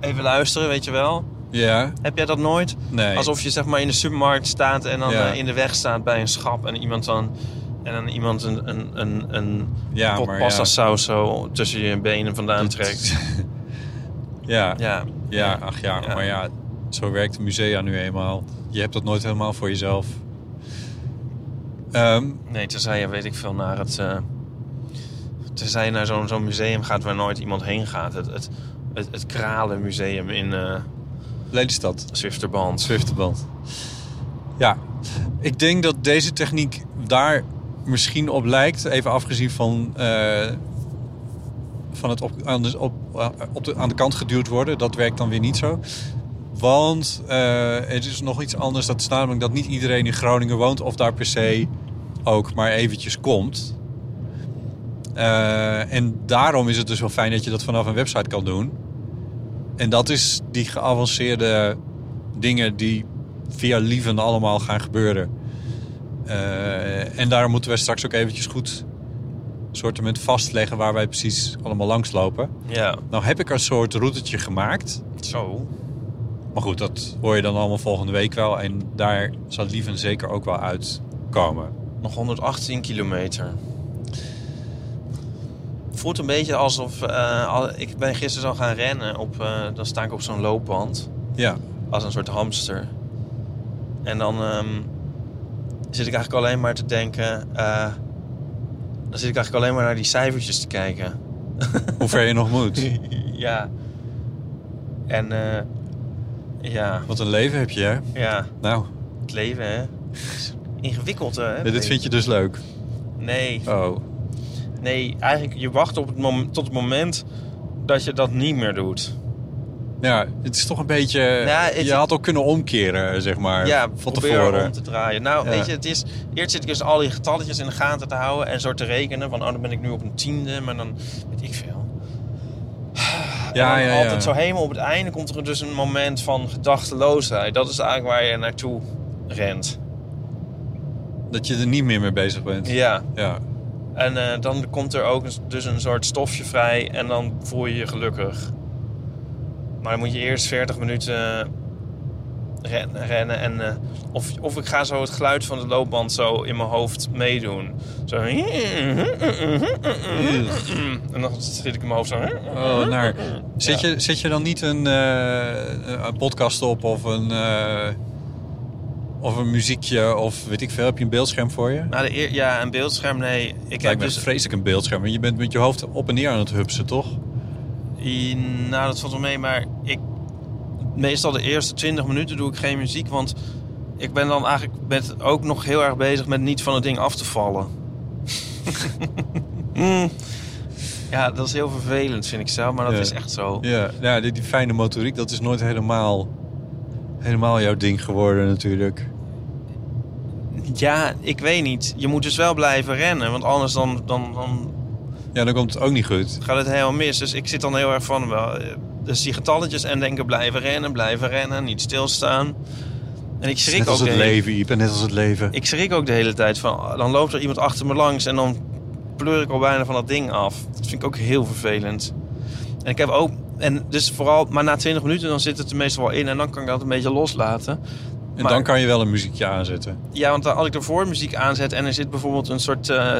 B: Even luisteren, weet je wel.
C: ja,
B: Heb jij dat nooit?
C: nee.
B: Alsof je zeg maar in de supermarkt staat en dan
C: Ja.
B: eh, in de weg staat bij een schap en iemand dan. eh, En dan iemand een, een, een, een
C: Ja,
B: pot
C: maar
B: pasta
C: ja.
B: saus zo tussen je benen vandaan trekt.
C: [laughs] Ja, ja,
B: Ja,
C: ach ja,
B: Ja.
C: maar ja, zo werkt de musea nu eenmaal. Je hebt dat nooit helemaal voor jezelf. Ehm,
B: nee, tenzij je weet ik veel naar het... eh tenzij je naar zo'n zo'n museum gaat waar nooit iemand heen gaat. Het, het, het, het Kralenmuseum in eh
C: Lelystad,
B: Zwifterband.
C: Zwifterband. Ja, ik denk dat deze techniek daar misschien op lijkt. Even afgezien van, eh, van het op, aan, de, op, eh, op de, aan de kant geduwd worden. Dat werkt dan weer niet zo. Want eh, het is nog iets anders. Dat is namelijk dat niet iedereen in Groningen woont of daar per se ook maar eventjes komt. Eh, en daarom is het dus wel fijn dat je dat vanaf een website kan doen. En dat is die geavanceerde dingen die via lieven allemaal gaan gebeuren. Eh, en daar moeten we straks ook eventjes goed sortiment vastleggen waar wij precies allemaal langslopen.
B: Ja,
C: Nou heb ik een soort routetje gemaakt.
B: zo.
C: Maar goed, dat hoor je dan allemaal volgende week wel. En daar zal lieven zeker ook wel uitkomen.
B: Nog 118 kilometer. Voelt een beetje alsof... eh, al- ik ben gisteren al gaan rennen. Op, eh, dan sta ik op zo'n loopband.
C: Ja,
B: Als een soort hamster. En dan ehm, zit ik eigenlijk alleen maar te denken... eh, dan zit ik eigenlijk alleen maar naar die cijfertjes te kijken. [laughs]
C: hoe ver je nog moet.
B: ja. En eh, ja,
C: Wat een leven heb je, hè?
B: ja,
C: Nou,
B: het leven hè. Is Ingewikkeld hè.
C: dit vind je dus leuk.
B: Nee.
C: Oh,
B: Nee, eigenlijk je wacht op het mom- tot het moment dat je dat niet meer doet.
C: ja, het is toch een beetje...
B: Nou, het-
C: je had ook kunnen omkeren, zeg maar,
B: ja,
C: van
B: probeer
C: tevoren.
B: om te draaien. Nou,
C: Ja.
B: weet je, het is... Eerst zit ik dus al die getalletjes in de gaten te houden en zo te rekenen. Van, oh, dan ben ik nu op een tiende, maar dan weet ik veel.
C: Ja,
B: en
C: ja,
B: dan
C: ja.
B: altijd zo helemaal op het einde komt er dus een moment van gedachteloosheid. Dat is eigenlijk waar je naartoe rent.
C: Dat je er niet meer mee bezig bent.
B: Ja.
C: Ja.
B: En eh, dan komt er ook een- dus een soort stofje vrij en dan voel je je gelukkig. Maar dan moet je eerst 40 minuten eh, ren- rennen. En, eh, of, of ik ga zo het geluid van de loopband zo in mijn hoofd meedoen. Zo. [laughs] En dan schiet ik in mijn hoofd zo. [laughs]
C: Oh, naar. Zet, je, zet je dan niet een, eh, een podcast op of een, eh, of een muziekje of weet ik veel? Heb je een beeldscherm voor je?
B: Nou, de eer- ja, een beeldscherm, nee. Ik heb
C: Lijkt me
B: dus
C: dus vreselijk een beeldscherm. want Je bent met je hoofd op en neer aan het hupsen, toch?
B: Oh, I- Nou, dat valt wel mee, maar ik... Meestal de eerste 20 minuten doe ik geen muziek, want... Ik ben dan eigenlijk met, ook nog heel erg bezig met niet van het ding af te
C: [laughs]
B: vallen. Mm. Ja, dat is heel vervelend, vind ik zelf, maar dat
C: Ja.
B: is echt zo.
C: Ja, ja die, die fijne motoriek, dat is nooit helemaal, helemaal jouw ding geworden natuurlijk.
B: Ja, ik weet niet. Je moet dus wel blijven rennen, want anders dan, dan, dan
C: Ja, dan komt het ook niet goed.
B: gaat het helemaal mis. Dus ik zit dan heel erg van wel. eh, Dus die getalletjes en denken blijven rennen, blijven rennen, niet stilstaan. En ik schrik
C: Net als
B: ook
C: het
B: de hele-
C: leven, Iep, en net als het leven.
B: Ik schrik ook de hele tijd van, dan loopt er iemand achter me langs en dan pleur ik al bijna van dat ding af. Dat vind ik ook heel vervelend. En ik heb ook, en dus vooral, maar na 20 minuten dan zit het er meestal wel in en dan kan ik dat een beetje loslaten.
C: en
B: maar-
C: dan kan je wel een muziekje aanzetten.
B: Ja, want als ik ervoor muziek aanzet en er zit bijvoorbeeld een soort eh,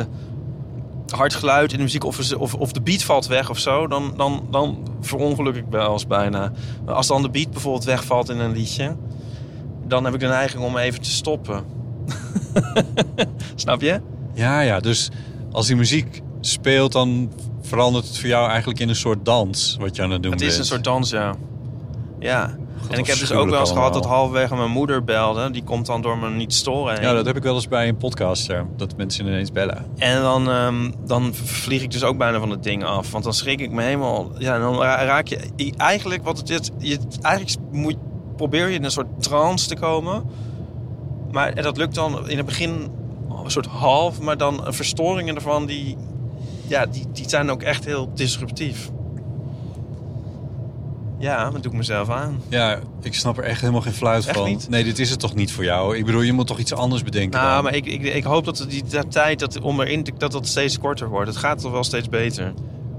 B: hard geluid in de muziek of, of, of de beat valt weg of zo, dan, dan, dan verongeluk ik wel eens bijna. Maar als dan de beat bijvoorbeeld wegvalt in een liedje, dan heb ik de neiging om even te stoppen. [laughs] Snap je?
C: Ja, ja, dus als die muziek speelt, dan verandert het voor jou eigenlijk in een soort dans wat je aan het doen
B: Het
C: bent.
B: is een soort dans, ja. Ja. en ik heb dus ook
C: afschuwelijk
B: wel eens gehad dat
C: allemaal.
B: halverwege mijn moeder belde. Die komt dan door me niet storen heen.
C: Ja, dat heb ik wel eens bij een podcaster. Dat mensen ineens bellen.
B: En dan, ehm, dan vlieg ik dus ook bijna van het ding af. Want dan schrik ik me helemaal. Ja, en dan ra- raak je i- eigenlijk wat het is. Je, eigenlijk moet, probeer je in een soort trance te komen. Maar en dat lukt dan in het begin een soort half. Maar dan eh, verstoringen ervan die, ja, die, die zijn ook echt heel disruptief. Ja, dat doe ik mezelf aan.
C: Ja, ik snap er echt helemaal geen fluit
B: Echt
C: van.
B: niet?
C: Nee, dit is het toch niet voor jou? Ik bedoel, je moet toch iets anders bedenken?
B: Nou,
C: dan?
B: maar ik, ik, ik hoop dat die, die tijd dat, om erin, te- dat dat steeds korter wordt. Het gaat toch wel steeds beter.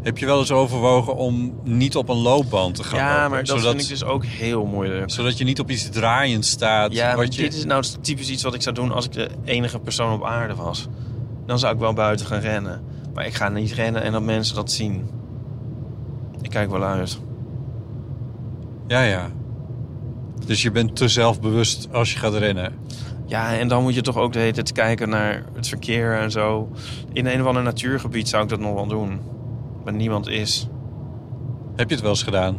C: Heb je wel eens overwogen om niet op een loopband te gaan
B: Ja,
C: lopen?
B: maar dat
C: zodat,
B: vind ik dus ook heel moeilijk.
C: zodat je niet op iets draaiend staat.
B: Ja, maar
C: wat je...
B: dit is nou typisch iets wat ik zou doen als ik de enige persoon op aarde was. dan zou ik wel buiten gaan rennen. Maar ik ga niet rennen en dat mensen dat zien. Ik kijk wel uit.
C: Ja, ja. Dus je bent te zelfbewust als je gaat rennen.
B: Ja, en dan moet je toch ook de hele tijd kijken naar het verkeer en zo. In een of ander natuurgebied zou ik dat nog wel doen. Waar niemand is.
C: Heb je het wel eens gedaan?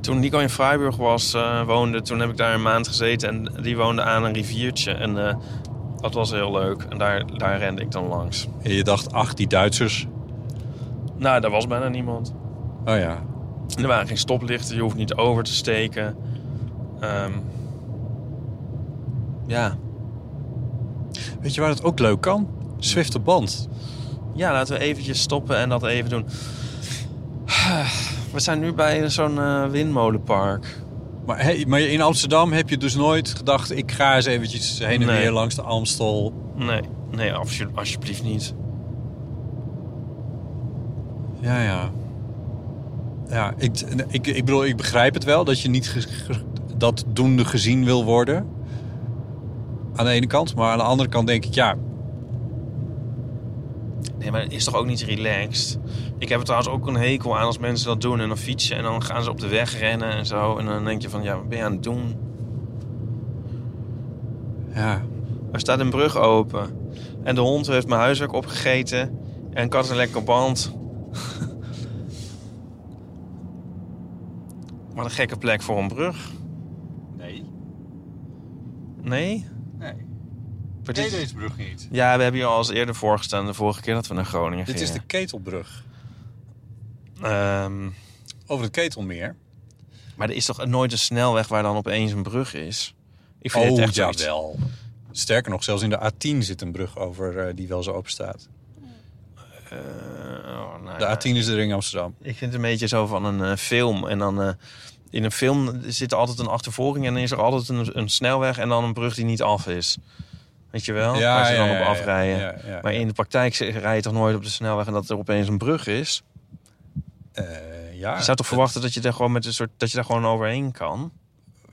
B: Toen Nico in Freiburg was, eh, woonde, toen heb ik daar een maand gezeten. En die woonde aan een riviertje. En eh, dat was heel leuk. En daar, daar rende ik dan langs.
C: En je dacht, ach, die Duitsers.
B: Nou, daar was bijna niemand.
C: Oh ja.
B: Er waren geen stoplichten, je hoeft niet over te steken. Ehm, ja.
C: Weet je waar het ook leuk kan? Zwifte band.
B: ja, laten we eventjes stoppen en dat even doen. We zijn nu bij zo'n eh, windmolenpark.
C: Maar, hey, maar in Amsterdam heb je dus nooit gedacht... ik ga eens eventjes heen en
B: Nee.
C: weer langs de Amstel.
B: Nee, nee alsje- alsjeblieft niet.
C: Ja, ja. Ja, ik, ik, ik bedoel, ik begrijp het wel... dat je niet ge- ge- dat doende gezien wil worden. Aan de ene kant. Maar aan de andere kant denk ik, ja...
B: Nee, maar het is toch ook niet relaxed? Ik heb er trouwens ook een hekel aan als mensen dat doen en dan fietsen en dan gaan ze op de weg rennen en zo. En dan denk je van, ja, wat ben je aan het doen?
C: ja.
B: Er staat een brug open. En de hond heeft mijn huiswerk opgegeten. En ik had een lekker band. [laughs] Wat een gekke plek voor een brug.
C: Nee,
B: Nee?
C: nee.
B: Voor dit-
C: brug niet.
B: Ja, we hebben je al eens eerder voorgestaan. De vorige keer dat we naar Groningen
C: Dit is
B: gingen.
C: de ketelbrug.
B: Ehm,
C: Over het ketelmeer.
B: maar er is toch nooit een snelweg waar dan opeens een brug is? Ik
C: Oh,
B: vind het echt zoiets.
C: wel. Sterker nog, zelfs in de A10 zit een brug over eh, die wel eens open staat.
B: Eh, oh, nou
C: De
B: ja.
C: A10 is de ring Amsterdam.
B: Ik vind het een beetje zo van een eh, film. En dan eh, in een film zit er altijd een achtervolging en dan is er altijd een, een snelweg en dan een brug die niet af is. Weet je wel? Oh, Waar ze dan op afrijden.
C: ja, ja, ja.
B: Maar in de praktijk ze- rij je toch nooit op de snelweg en dat er opeens een brug is.
C: Eh, ja,
B: Je zou toch verwachten dat je daar gewoon met een soort dat je daar gewoon overheen kan.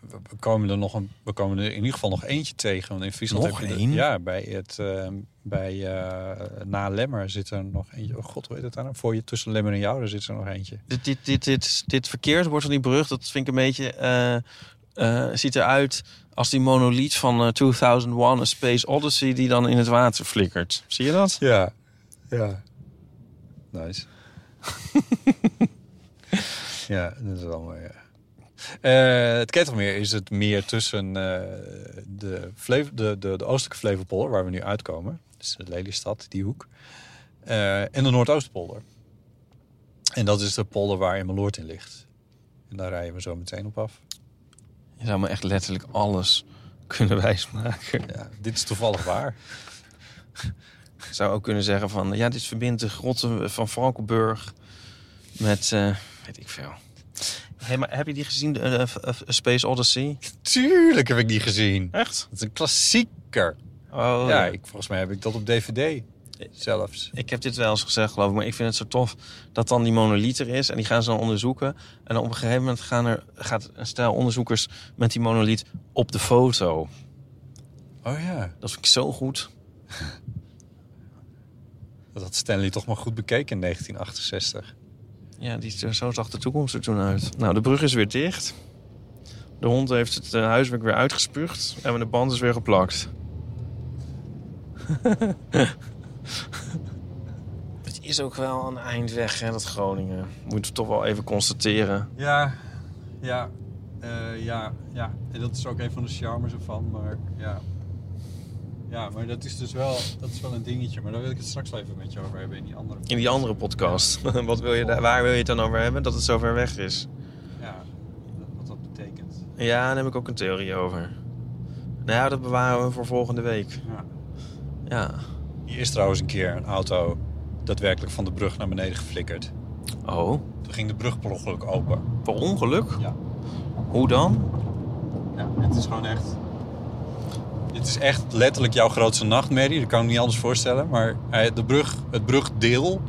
C: we- we komen er nog een, we komen er in ieder geval nog eentje tegen. Want in Friesland
B: Nog
C: heb je de-
B: één?
C: ja, bij het eh, bij eh na Lemmer zit er nog eentje. Oh god, weet het daar nou? Voor je tussen Lemmer en jou, daar zit er nog eentje.
B: Dit, dit, dit, dit, dit verkeersbord van die brug, dat vind ik een beetje eh, eh, ziet eruit als die monoliet van eh, 2001: A Space Odyssey die dan in het water flikkert. Zie je dat?
C: Ja, ja. [laughs] Nice. ja, dat is allemaal, ja. Eh, het Ketelmeer is het meer tussen eh, de, Flevo- de, de, de oostelijke Flevopolder, waar we nu uitkomen. Dus de Lelystad, die hoek. eh, en de Noordoostpolder. En dat is de polder waar Emmeloord in ligt. En daar rijden we zo meteen op af.
B: Je zou me echt letterlijk alles [laughs] kunnen wijsmaken.
C: Ja, dit is toevallig waar.
B: Ik zou ook kunnen zeggen van... Ja, dit verbindt de grotten van Valkenburg met... eh, weet ik veel. Hey, maar heb je die gezien, de, eh, eh, Space Odyssey?
C: [laughs] Tuurlijk heb ik die gezien.
B: Echt?
C: Het is een klassieker.
B: Oh,
C: ja, ik, volgens mij heb ik dat op DVD zelfs.
B: Ik heb dit wel eens gezegd, geloof ik. Maar ik vind het zo tof dat dan die monoliet er is. En die gaan ze dan onderzoeken. En dan op een gegeven moment gaan er, gaat een stel onderzoekers met die monoliet op de foto.
C: Oh ja.
B: Dat vind ik zo goed.
C: Dat had Stanley toch maar goed bekeken in 1968.
B: Ja, die, zo zag de toekomst er toen uit. Nou, de brug is weer dicht. De hond heeft het eh, huiswerk weer uitgespuugd. En de band is weer geplakt. [laughs] het is ook wel een eindweg, hè, dat Groningen. Moeten we toch wel even constateren.
C: Ja, ja, eh, ja, ja. En dat is ook een van de charmes ervan, maar ja. Ja, maar dat is dus wel, dat is wel een dingetje. Maar daar wil ik het straks wel even met je over hebben in die andere.
B: In die andere podcast. [laughs] Wat wil je daar, waar wil je het dan over hebben? Dat het zo ver weg is.
C: Ja, wat dat betekent.
B: Ja, daar heb ik ook een theorie over. Nou ja, dat bewaren we voor volgende week. Ja.
C: Hier is trouwens een keer een auto daadwerkelijk van de brug naar beneden geflikkerd.
B: Oh,
C: Toen ging de brug per ongeluk open.
B: per ongeluk?
C: Ja.
B: Hoe dan?
C: Ja, het is gewoon echt. Dit is echt letterlijk jouw grootste nachtmerrie. Dat kan ik me niet anders voorstellen. Maar hij- de brug, het brugdeel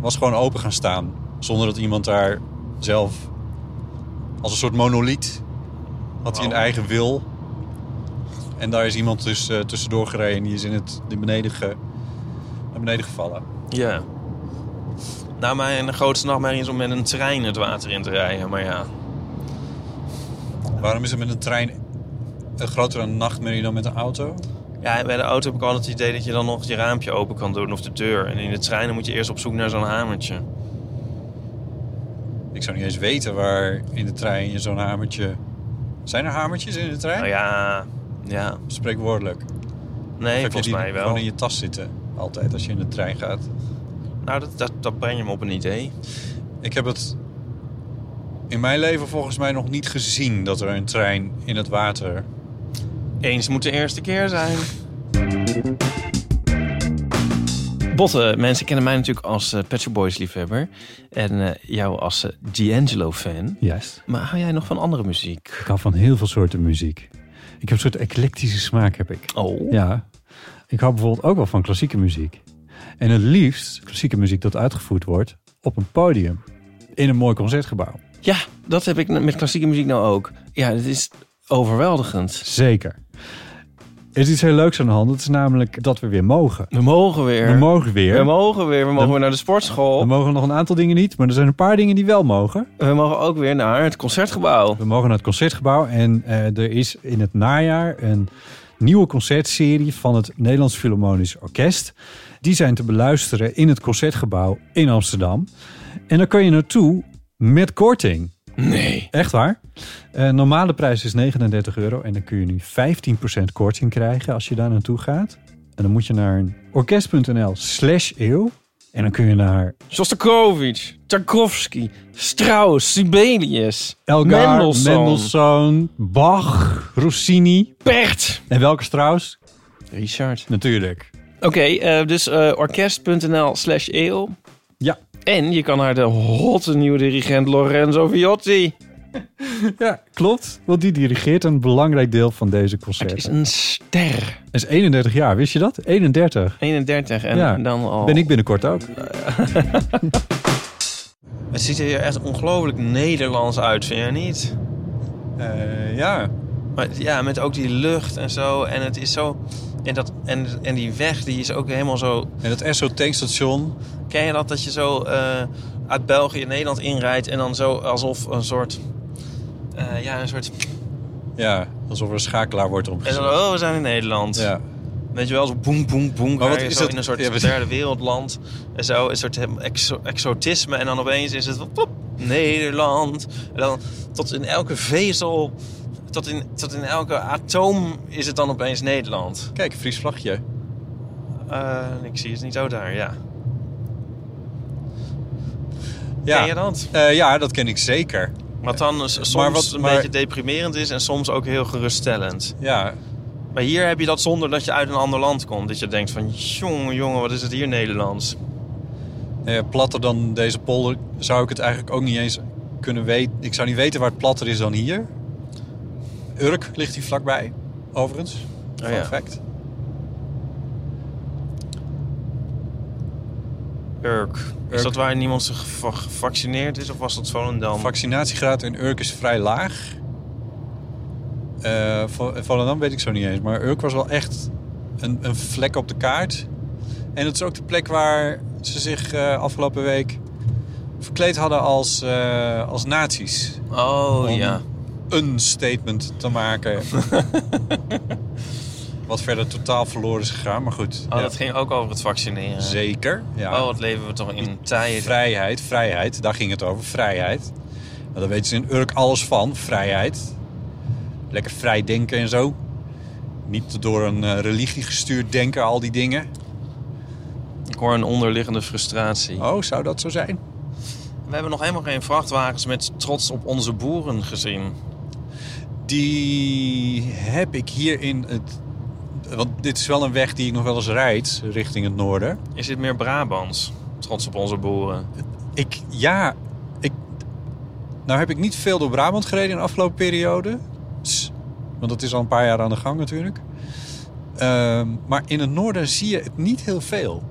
C: was gewoon open gaan staan. Zonder dat iemand daar zelf. Als een soort monoliet. had hij een
B: Wauw.
C: eigen wil. En daar is iemand dus eh, tussendoor gereden. Die is in het die beneden ge, naar beneden gevallen.
B: Ja. Nou, mijn grootste nachtmerrie is om met een trein het water in te rijden. Maar ja,
C: Waarom is het met een trein een grotere nachtmerrie dan met een auto?
B: Ja, bij de auto heb ik altijd het idee dat je dan nog je raampje open kan doen of de deur. En in de treinen moet je eerst op zoek naar zo'n hamertje.
C: Ik zou niet eens weten waar in de trein je zo'n hamertje... Zijn er hamertjes in de trein?
B: Nou ja, ja.
C: Spreekwoordelijk.
B: Nee,
C: Of heb je
B: volgens
C: die
B: mij wel.
C: gewoon in je tas zitten. Altijd als je in de trein gaat.
B: Nou, dat, dat, dat breng je me op een idee.
C: Ik heb het in mijn leven volgens mij nog niet gezien dat er een trein in het water.
B: Eens moet de eerste keer zijn. Botten, mensen kennen mij natuurlijk als eh, Pet Shop Boys liefhebber. En eh, jou als eh, D'Angelo fan.
D: Juist.
B: Maar hou jij nog van andere muziek?
D: Ik hou van heel veel soorten muziek. Ik heb een soort eclectische smaak, heb ik.
B: Oh.
D: Ja. Ik hou bijvoorbeeld ook wel van klassieke muziek. En het liefst klassieke muziek dat uitgevoerd wordt op een podium. In een mooi concertgebouw.
B: Ja, dat heb ik met klassieke muziek nou ook. Ja, het is overweldigend.
D: Zeker. Er is iets heel leuks aan de hand. Dat is namelijk dat we weer mogen.
B: We mogen weer.
D: We mogen
B: We
D: weer.
B: mogen weer. We mogen
D: Dan-
B: weer naar de
D: We
B: sportschool.
D: mogen nog een aantal dingen niet, maar er zijn een paar dingen die wel mogen.
B: We mogen ook weer naar het concertgebouw.
D: We mogen naar het concertgebouw en eh, er is in het najaar een nieuwe concertserie van het Nederlands Philharmonisch Orkest. Die zijn te beluisteren in het concertgebouw in Amsterdam. En daar kun je naartoe met korting.
B: Nee.
D: Echt waar. Eh, normale prijs is 39 euro en dan kun je nu 15% korting krijgen als je daar naartoe gaat. En dan moet je naar orkest.nl slash eeuw. En dan kun je naar
B: Shostakovich, Tarkovsky, Strauss, Sibelius,
D: Elgar,
B: Mendelssohn,
D: Mendelssohn, Bach, Rossini.
B: Pert.
D: En welke Strauss?
B: Richard.
C: [laughs]
D: Natuurlijk.
B: Oké, eh, dus eh, orkest.nl slash eeuw.
D: Ja.
B: En je kan naar de hotte nieuwe dirigent Lorenzo Viotti.
D: Ja, klopt. Want die dirigeert een belangrijk deel van deze
B: Het is
D: concerten.
B: een ster.
D: Hij is 31 jaar, wist je dat? 31.
B: 31 en
D: Ja.
B: dan al...
C: Oh.
D: Ben ik binnenkort ook.
B: Het ziet er echt ongelooflijk Nederlands uit, vind je niet?
C: Eh, ja,
B: Maar ja, met ook die lucht en zo. En het is zo. En, dat, en, en die weg, die is ook helemaal zo.
C: en dat Esso tankstation.
B: Ken je dat? Dat je zo eh, uit België Nederland inrijdt. En dan zo alsof een soort. eh, ja, een soort.
C: Ja, alsof er een schakelaar wordt
B: En dan,
C: omgezet.
B: oh, we zijn in Nederland.
C: Ja.
B: Weet je wel, zo boem, boem, boem.
C: Maar wat
B: rij je
C: is
B: zo
C: dat-
B: in een soort
C: Ja, wat-
B: derde wereldland. En zo, een soort hem- exo- exotisme. En dan opeens is het plop, Nederland. En dan tot in elke vezel, tot in, tot in elke atoom is het dan opeens Nederland.
C: Kijk, een Fries vlagje.
B: Eh, ik zie het niet zo daar, ja.
C: Ja.
B: Ken je dat?
C: Eh, ja, dat ken ik zeker.
B: Wat dan is soms
C: Maar wat-
B: een
C: maar-
B: beetje deprimerend is en soms ook heel geruststellend.
C: Ja,
B: Maar hier heb je dat zonder dat je uit een ander land komt. Dat je denkt van, jongen, jongen, wat is het hier Nederlands?
C: eh, platter dan deze polder zou ik het eigenlijk ook niet eens kunnen weten. Ik zou niet weten waar het platter is dan hier. Urk ligt hier vlakbij, overigens.
B: Oh,
C: Fun
B: ja.
C: fact.
B: Urk. Is
C: Urk.
B: dat waar niemand zich geva- gevaccineerd is of was dat Volendam?
C: Vaccinatiegraad in Urk is vrij laag. Eh, Vo- Volendam weet ik zo niet eens. Maar Urk was wel echt een, een vlek op de kaart. En het is ook de plek waar ze zich eh, afgelopen week verkleed hadden als, eh, als nazi's.
B: Oh
C: Om
B: ja.
C: een statement te
B: [laughs]
C: maken. Wat verder totaal verloren is gegaan. Maar goed.
B: Oh,
C: ja.
B: dat ging ook over het vaccineren.
C: Zeker. Ja.
B: Oh, wat leven we toch in tijden.
C: Vrijheid, vrijheid. Daar ging het over, vrijheid. Nou, daar weten ze in Urk alles van, vrijheid. Lekker vrij denken en zo. Niet door een eh, religie gestuurd denken, al die dingen.
B: Ik hoor een onderliggende frustratie.
C: Oh, zou dat zo zijn?
B: We hebben nog helemaal geen vrachtwagens met trots op onze boeren gezien.
C: Die heb ik hier in het... Want dit is wel een weg die ik nog wel eens rijd, richting het noorden.
B: Is dit meer Brabants? Trots op onze boeren.
C: Ik, ja, ik... Nou heb ik niet veel door Brabant gereden in de afgelopen periode. S- Want dat is al een paar jaar aan de gang natuurlijk. Ehm, maar in het noorden zie je het niet heel veel.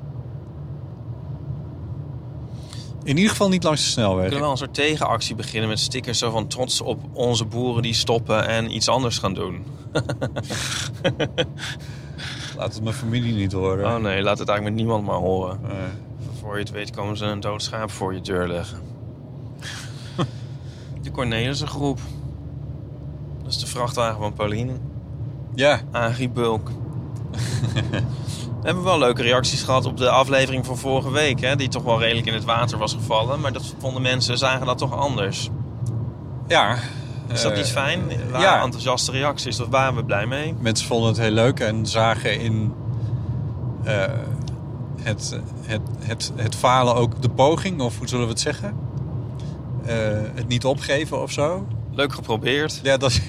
C: In ieder geval niet langs de
B: We
C: snelweg.
B: kunnen wel een soort tegenactie beginnen met stickers zo van trots op onze boeren die stoppen en iets anders gaan doen.
C: Laat het mijn familie niet horen. Eh,
B: Oh nee, laat het eigenlijk met niemand maar horen.
C: Nee.
B: Voor je het weet komen ze een dood schaap voor je deur leggen.
C: [laughs]
B: de Cornelissen groep. Dat is de vrachtwagen van Pauline.
C: Ja,
B: Agri [laughs] Bulk. We hebben wel leuke reacties gehad op de aflevering van vorige week. Hè, die toch wel redelijk in het water was gevallen. Maar dat vonden mensen, zagen dat toch anders.
C: ja.
B: Is dat
C: Eh,
B: niet fijn? Waren
C: ja.
B: enthousiaste reacties, daar waren we blij mee.
C: Mensen vonden het heel leuk en zagen in eh, het, het, het, het falen ook de poging, of hoe zullen we het zeggen? Eh, het niet opgeven of zo.
B: Leuk geprobeerd.
C: Ja, dat is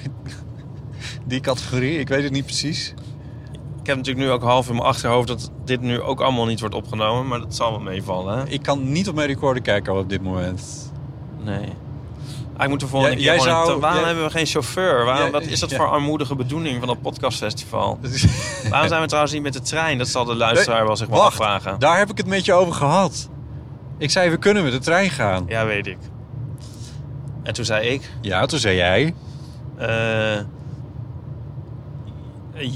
C: [laughs] die categorie. Ik weet het niet precies.
B: Ik heb natuurlijk nu ook half in mijn achterhoofd dat dit nu ook allemaal niet wordt opgenomen. Maar dat zal wel meevallen. hè?
C: Ik kan niet op mijn recorder kijken op dit moment.
B: Nee. Hij Ah, moet de volgende
C: Jij-
B: keer
C: jij
B: gewoon een-
C: zou-
B: Waarom
C: jij-
B: hebben we geen chauffeur? Waarom,
C: Jij-
B: wat is dat
C: ja.
B: voor armoedige bedoeling van dat podcastfestival?
C: Dat is-
B: Waarom zijn we trouwens niet met de trein? Dat zal de luisteraar wel zich wel
C: Wacht,
B: afvragen.
C: Daar heb ik het met je over gehad. Ik zei, we kunnen met de trein gaan.
B: Ja, weet ik. En toen zei ik...
C: Ja, toen zei jij.
B: eh,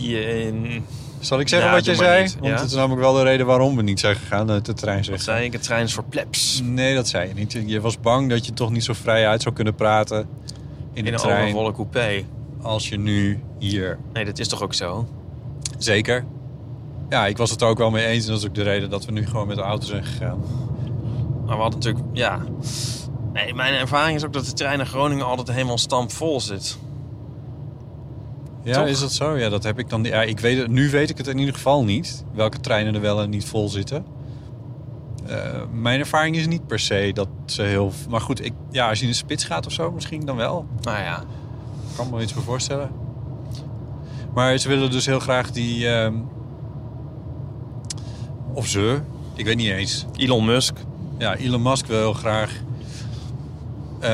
B: je-
C: Zal ik zeggen
B: Ja,
C: wat jij
B: doe maar
C: zei?
B: niet.
C: Want
B: Ja.
C: het is namelijk wel de reden waarom we niet zijn gegaan, dat de trein
B: wat
C: zegt.
B: zei ik? Het trein is voor plebs.
C: Nee, dat zei je niet. Je was bang dat je toch niet zo vrij uit zou kunnen praten in
B: In
C: de
B: een
C: trein
B: overvolle coupé.
C: als je nu hier.
B: Nee, dat is toch ook zo?
C: Zeker. Ja, ik was het er ook wel mee eens en dat is ook de reden dat we nu gewoon met de auto zijn gegaan.
B: Maar we hadden natuurlijk... Ja. Nee, mijn ervaring is ook dat de trein naar Groningen altijd helemaal stampvol zit.
C: Ja,
B: Toch?
C: is dat zo? Ja, dat heb ik dan. Ja, ik weet het, nu weet ik het in ieder geval niet. Welke treinen er wel en niet vol zitten. Eh, mijn ervaring is niet per se dat ze heel. Maar goed, ik, ja, als je in de spits gaat of zo, misschien dan wel.
B: Nou ja.
C: Ik kan me iets voor voorstellen. Maar ze willen dus heel graag die. ehm, of ze, ik weet niet eens.
B: Elon Musk.
C: Ja, Elon Musk wil heel graag. Eh,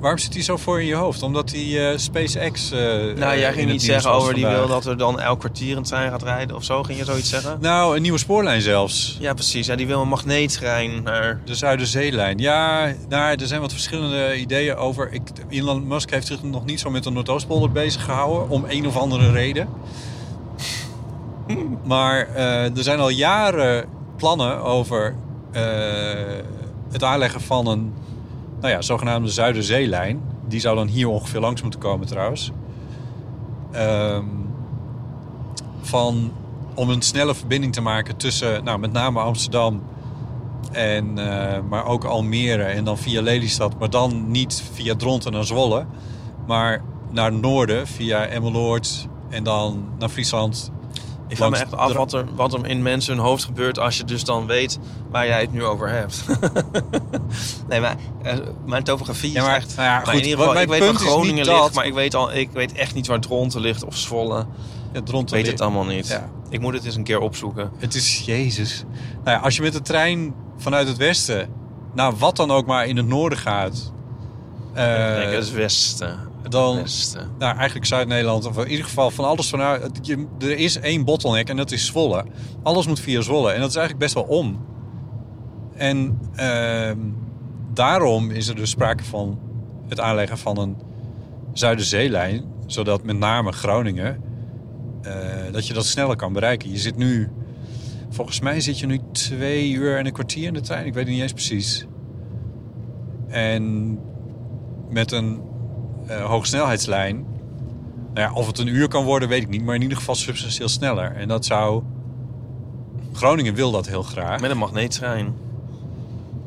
C: waarom zit hij zo voor in je hoofd? Omdat hij eh, SpaceX. eh,
B: Nou,
C: eh,
B: jij
C: in
B: ging
C: het
B: niet
C: nieuws
B: zeggen
C: was
B: over die
C: vandaag.
B: wil dat er dan elk kwartier een trein gaat rijden of zo. Ging je zoiets zeggen?
C: Nou, een nieuwe spoorlijn zelfs.
B: Ja, precies. Ja, die wil een magneettrein naar...
C: De Zuiderzeelijn. Ja, daar, er zijn wat verschillende ideeën over. Ik, Elon Musk heeft zich nog niet zo met de Noordoostpolder bezig gehouden. Om een of andere reden. Maar eh, er zijn al jaren plannen over eh, het aanleggen van een nou ja, zogenaamde Zuiderzeelijn. Die zou dan hier ongeveer langs moeten komen trouwens. Ehm, van, om een snelle verbinding te maken tussen nou, met name Amsterdam en, eh, maar ook Almere en dan via Lelystad. Maar dan niet via Dronten naar Zwolle. Maar naar het noorden via Emmeloord en dan naar Friesland.
B: Ik vraag me
C: Langs
B: echt af
C: de-
B: wat er, wat er in mensen hun hoofd gebeurt als je dus dan weet waar jij het nu over hebt. [laughs] nee, maar eh, mijn topografie
C: Ja, maar-
B: is echt...
C: nou ja,
B: maar
C: goed,
B: in ieder
C: wat
B: geval,
C: mijn
B: ik weet waar
C: punt is niet
B: Groningen
C: dat-
B: ligt, maar ik weet, al, ik weet echt niet waar Dronten ligt of Zwolle.
C: Ja,
B: Ik
C: Dronten
B: weet
C: li-
B: het allemaal niet.
C: Ja.
B: Ik moet het eens een keer opzoeken.
C: Het is Jezus. Nou ja, als je met de trein vanuit het westen naar wat dan ook maar in het noorden gaat. eh,
B: ik denk, het is Westen. Het
C: dan-
B: Westen.
C: nou, eigenlijk Zuid-Nederland, of in ieder geval van alles vanuit. je- Er is één bottleneck en dat is Zwolle. Alles moet via Zwolle en dat is eigenlijk best wel om. En ehm, daarom is er dus sprake van het aanleggen van een Zuiderzeelijn, zodat met name Groningen, eh, dat je dat sneller kan bereiken. Je zit nu, volgens mij zit je nu twee uur en een kwartier in de trein, ik weet het niet eens precies. En met een eh, hoogsnelheidslijn. Nou ja, of het een uur kan worden, weet ik niet. Maar in ieder geval substantieel sneller. En dat zou... Groningen wil dat heel graag.
B: Met een magneettrein.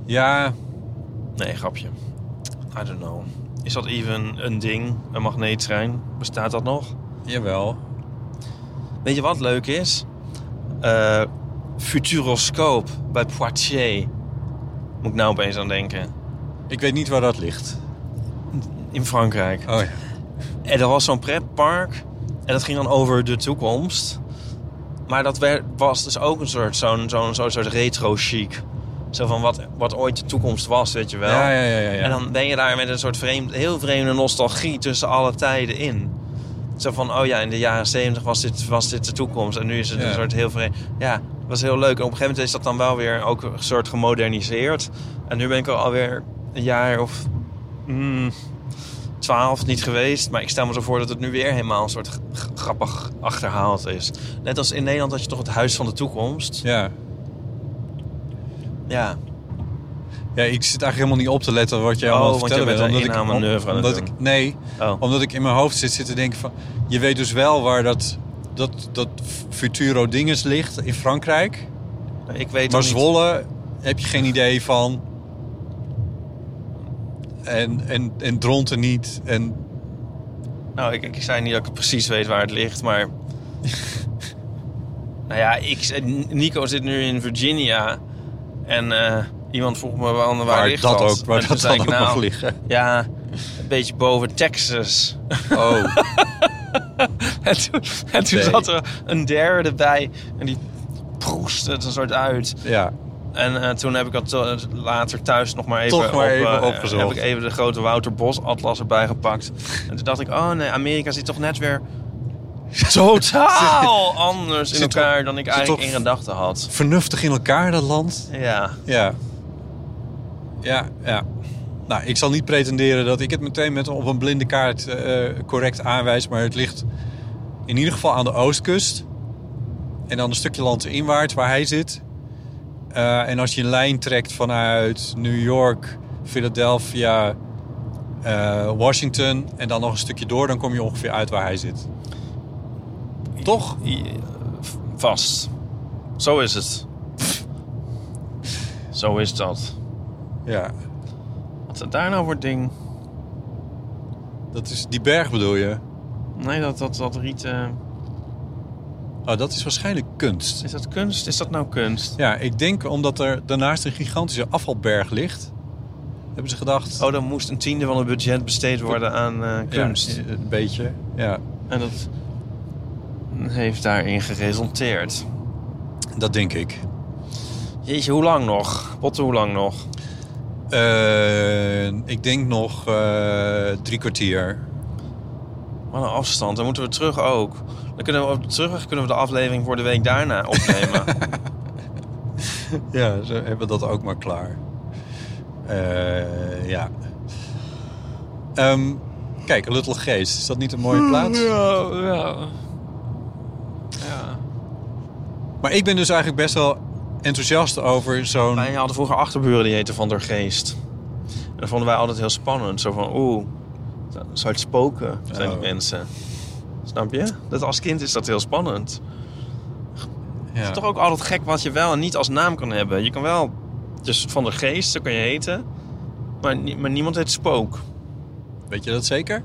C: Ja,
B: Nee, grapje. I don't know. Is dat even een ding? Een magneettrein? Bestaat dat nog?
C: jawel.
B: Weet je wat leuk is? Eh, Futuroscoop bij Poitiers. Moet ik nou opeens aan denken.
C: Ik weet niet waar dat ligt.
B: In Frankrijk.
C: Oh ja.
B: En er was zo'n pretpark. En dat ging dan over de toekomst. Maar dat werd, was dus ook een soort, zo'n, zo'n, zo'n soort retro-chic. Zo van wat, wat ooit de toekomst was, weet je wel.
C: Ja, ja, ja, ja, ja.
B: En dan ben je daar met een soort vreemd, heel vreemde nostalgie tussen alle tijden in. Zo van, oh ja, in de jaren zeventig was dit, was dit de toekomst. En nu is het
C: Ja.
B: een soort heel vreemd... Ja, het was heel leuk. En op een gegeven moment is dat dan wel weer ook een soort gemoderniseerd. En nu ben ik er alweer een jaar of... mm, 12 niet geweest. Maar ik stel me zo voor dat het nu weer helemaal een soort g- g- grappig achterhaald is. Net als in Nederland had je toch het Huis van de Toekomst.
C: Ja.
B: Ja.
C: ja, ik zit eigenlijk helemaal niet op te letten wat jij allemaal
B: Oh,
C: aan het
B: want jij
C: vertellen
B: bent
C: bent,
B: een
C: omdat ik-
B: inhaalmanoeuvre aan het
C: omdat
B: doen.
C: ik, Nee,
B: Oh.
C: omdat ik in mijn hoofd zit, zit te denken van... Je weet dus wel waar dat, dat, dat Futuro dinges ligt in Frankrijk.
B: Ik weet
C: Maar
B: ook niet-
C: Zwolle heb je geen idee van. En, en, en Dronten niet. En
B: Nou, ik, ik zei niet dat ik precies weet waar het ligt,
C: [laughs]
B: maar... nou ja, ik, Nico zit nu in Virginia. En eh, iemand vroeg me waar, waar,
C: waar
B: ligt
C: dat,
B: dat?
C: ook, waar
B: En toen
C: dat
B: zei
C: dan ook
B: ik, nou,
C: mag liggen.
B: Ja, een beetje boven
C: [laughs]
B: Texas. [laughs]
C: Oh,
B: en toen, en toen
C: Nee.
B: zat er een derde bij en die proestte het een soort uit.
C: ja.
B: En eh, toen heb ik dat eh, later thuis nog maar even,
C: Toch maar even
B: eh,
C: opgezocht.
B: Heb ik even de grote Wouter Bos atlas erbij gepakt. En toen dacht ik, oh nee, Amerika zit toch net weer totaal [laughs] anders in
C: Oh! Zit
B: elkaar
C: toch-
B: dan ik
C: zit
B: eigenlijk
C: toch-
B: in gedachten had.
C: Vernuftig in elkaar, dat land.
B: Ja,
C: Ja. Ja, ja. Nou, ik zal niet pretenderen dat ik het meteen met op een blinde kaart eh, correct aanwijs. Maar het ligt in ieder geval aan de oostkust. En dan een stukje land inwaarts waar hij zit. Eh, en als je een lijn trekt vanuit New York, Philadelphia, eh, Washington... en dan nog een stukje door, dan kom je ongeveer uit waar hij zit. Toch?
B: i- v- vast. Zo is het. Zo is dat.
C: Ja.
B: Wat is daar nou voor ding?
C: Dat is die berg bedoel je?
B: Nee, dat, dat, dat riet... eh,
C: Oh, dat is waarschijnlijk kunst.
B: is dat kunst? Is dat nou kunst?
C: Ja, ik denk omdat er daarnaast een gigantische afvalberg ligt, hebben ze gedacht.
B: Oh, dan moest een tiende van het budget besteed worden aan eh,
C: ja,
B: kunst.
C: een beetje. Ja,
B: En dat heeft daarin geresulteerd.
C: dat denk ik.
B: Jeetje, hoe lang nog? Potten, hoe lang nog?
C: Eh, ik denk nog eh, drie kwartier.
B: Wat een afstand. Dan moeten we terug ook. Dan kunnen we op de terugweg kunnen we de aflevering voor de week daarna opnemen.
C: Ja, ze hebben dat ook maar klaar. Eh, ja. Ehm, kijk, Little Geest, is dat niet een mooie plaats?
B: Hmm, ja, ja. ja.
C: Maar ik ben dus eigenlijk best wel enthousiast over zo'n.
B: Wij hadden vroeger achterburen die heten Van der Geest. En dat vonden wij altijd heel spannend. Zo van, oeh, zou het spoken, zijn die
C: Oh.
B: mensen. Snap je? Dat als kind is dat heel spannend.
C: Ja.
B: Het is toch ook altijd gek wat je wel en niet als naam kan hebben. Je kan wel, dus van de geest, zo kan je heten. Maar, nie- maar niemand heet spook.
C: Weet je dat zeker?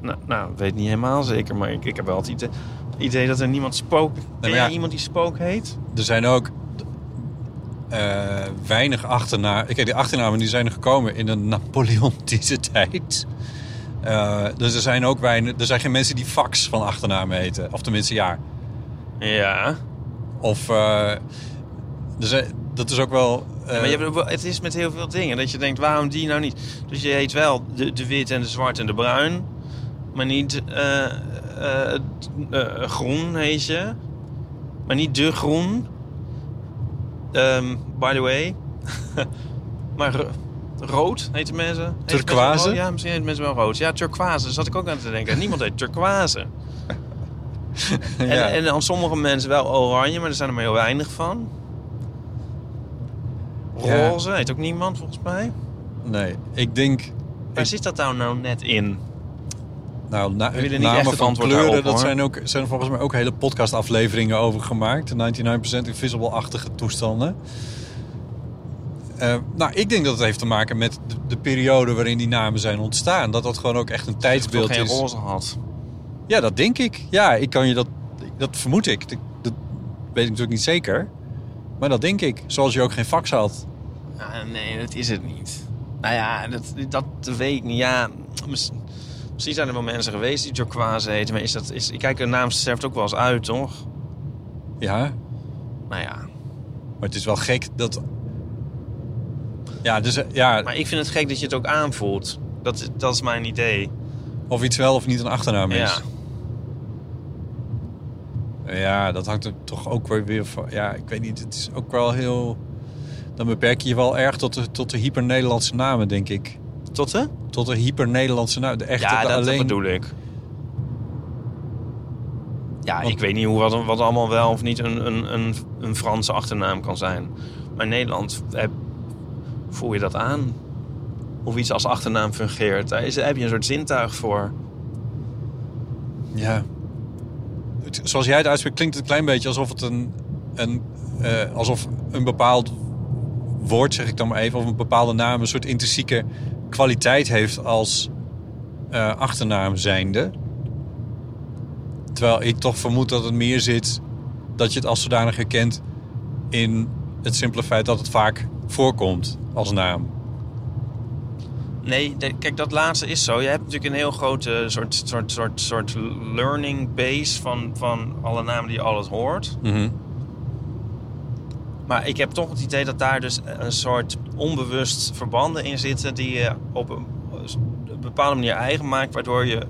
B: Nou, nou, weet niet helemaal zeker, maar ik, ik heb wel het idee, idee dat er niemand spook... Ken
C: ja.
B: jij iemand die spook heet?
C: Er zijn ook eh, weinig achternamen. Kijk, die achternamen die zijn er gekomen in de Napoleontische [laughs] tijd. Eh, dus er zijn ook weinig. Er zijn geen mensen die fax van achternamen heten. Of tenminste, ja.
B: Ja.
C: Of. eh, er zijn- dat is ook wel. eh,
B: maar je hebt, ook wel- het is met heel veel dingen dat je denkt, waarom die nou niet? Dus je heet wel de, de wit en de zwart en de bruin. Maar niet eh, eh, t- eh, groen heet je. Maar niet de groen. Ehm, by the way. [laughs] maar ro- rood heten mensen. Heet mensen
C: Turquoise?
B: wel rood? Ja, misschien heet mensen wel rood. Ja, turquoise. Daar zat ik ook aan te denken. Niemand heet turquoise.
C: [laughs] ja.
B: En, en dan sommige mensen wel oranje, maar er zijn er maar heel weinig van.
C: Ja.
B: Roze heet ook niemand volgens mij.
C: nee, ik denk.
B: Waar zit dat nou, nou net in?
C: Nou, na,
B: willen niet echt
C: namen
B: het
C: van
B: antwoord
C: kleuren,
B: daarop,
C: dat
B: hoor.
C: zijn, ook, zijn er volgens mij ook hele podcastafleveringen over gemaakt. 99% Invisible-achtige toestanden. Eh, nou, ik denk dat het heeft te maken met de, de periode waarin die namen zijn ontstaan. Dat dat gewoon ook echt een
B: Ik Dus toch
C: tijdsbeeld
B: geen
C: is.
B: roze had.
C: Ja, dat denk ik. Ja, ik kan je dat... Dat vermoed ik. Dat, dat weet ik natuurlijk niet zeker. Maar dat denk ik. Zoals je ook geen fax had.
B: Ah, nee, dat is het niet. Nou ja, dat, dat weet ik niet. Ja, mis- misschien zijn er wel mensen geweest die turquoise heten. Maar is dat... Is, kijk, een naam sterft ook wel eens uit, toch?
C: Ja,
B: Nou ja.
C: maar het is wel gek dat... Ja, dus, eh, ja
B: Maar ik vind het gek dat je het ook aanvoelt. Dat, dat is mijn idee.
C: of iets wel of niet een achternaam is.
B: Ja.
C: Ja, dat hangt er toch ook weer- weer van. Ja, ik weet niet. Het is ook wel heel. Dan beperk je je wel erg tot de, tot de hyper-Nederlandse namen, denk ik.
B: Tot hè?
C: Tot de hyper-Nederlandse... Nou, de echte
B: ja,
C: de
B: dat, dat
C: alleen...
B: bedoel ik. Ja,
C: Want-
B: ik weet niet hoe, wat, wat allemaal wel of niet een, een, een, een Franse achternaam kan zijn. Maar in Nederland heb, voel je dat aan. Hoe iets als achternaam fungeert. Daar, is, daar heb je een soort zintuig voor.
C: Ja. Het- zoals jij het uitspreekt klinkt het een klein beetje alsof het een... een eh, alsof een bepaald woord, zeg ik dan maar even... of een bepaalde naam een soort intrinsieke kwaliteit heeft als eh, achternaam zijnde. Terwijl ik toch vermoed dat het meer zit... dat je het als zodanig herkent in het simpele feit dat het vaak voorkomt als naam.
B: Nee, de- kijk, dat laatste is zo. Je hebt natuurlijk een heel grote soort, soort, soort, soort learning base van, van alle namen die je alles hoort. Maar ik heb toch het idee dat daar dus een soort onbewust verbanden in zitten die je op een een bepaalde manier eigen maakt, waardoor je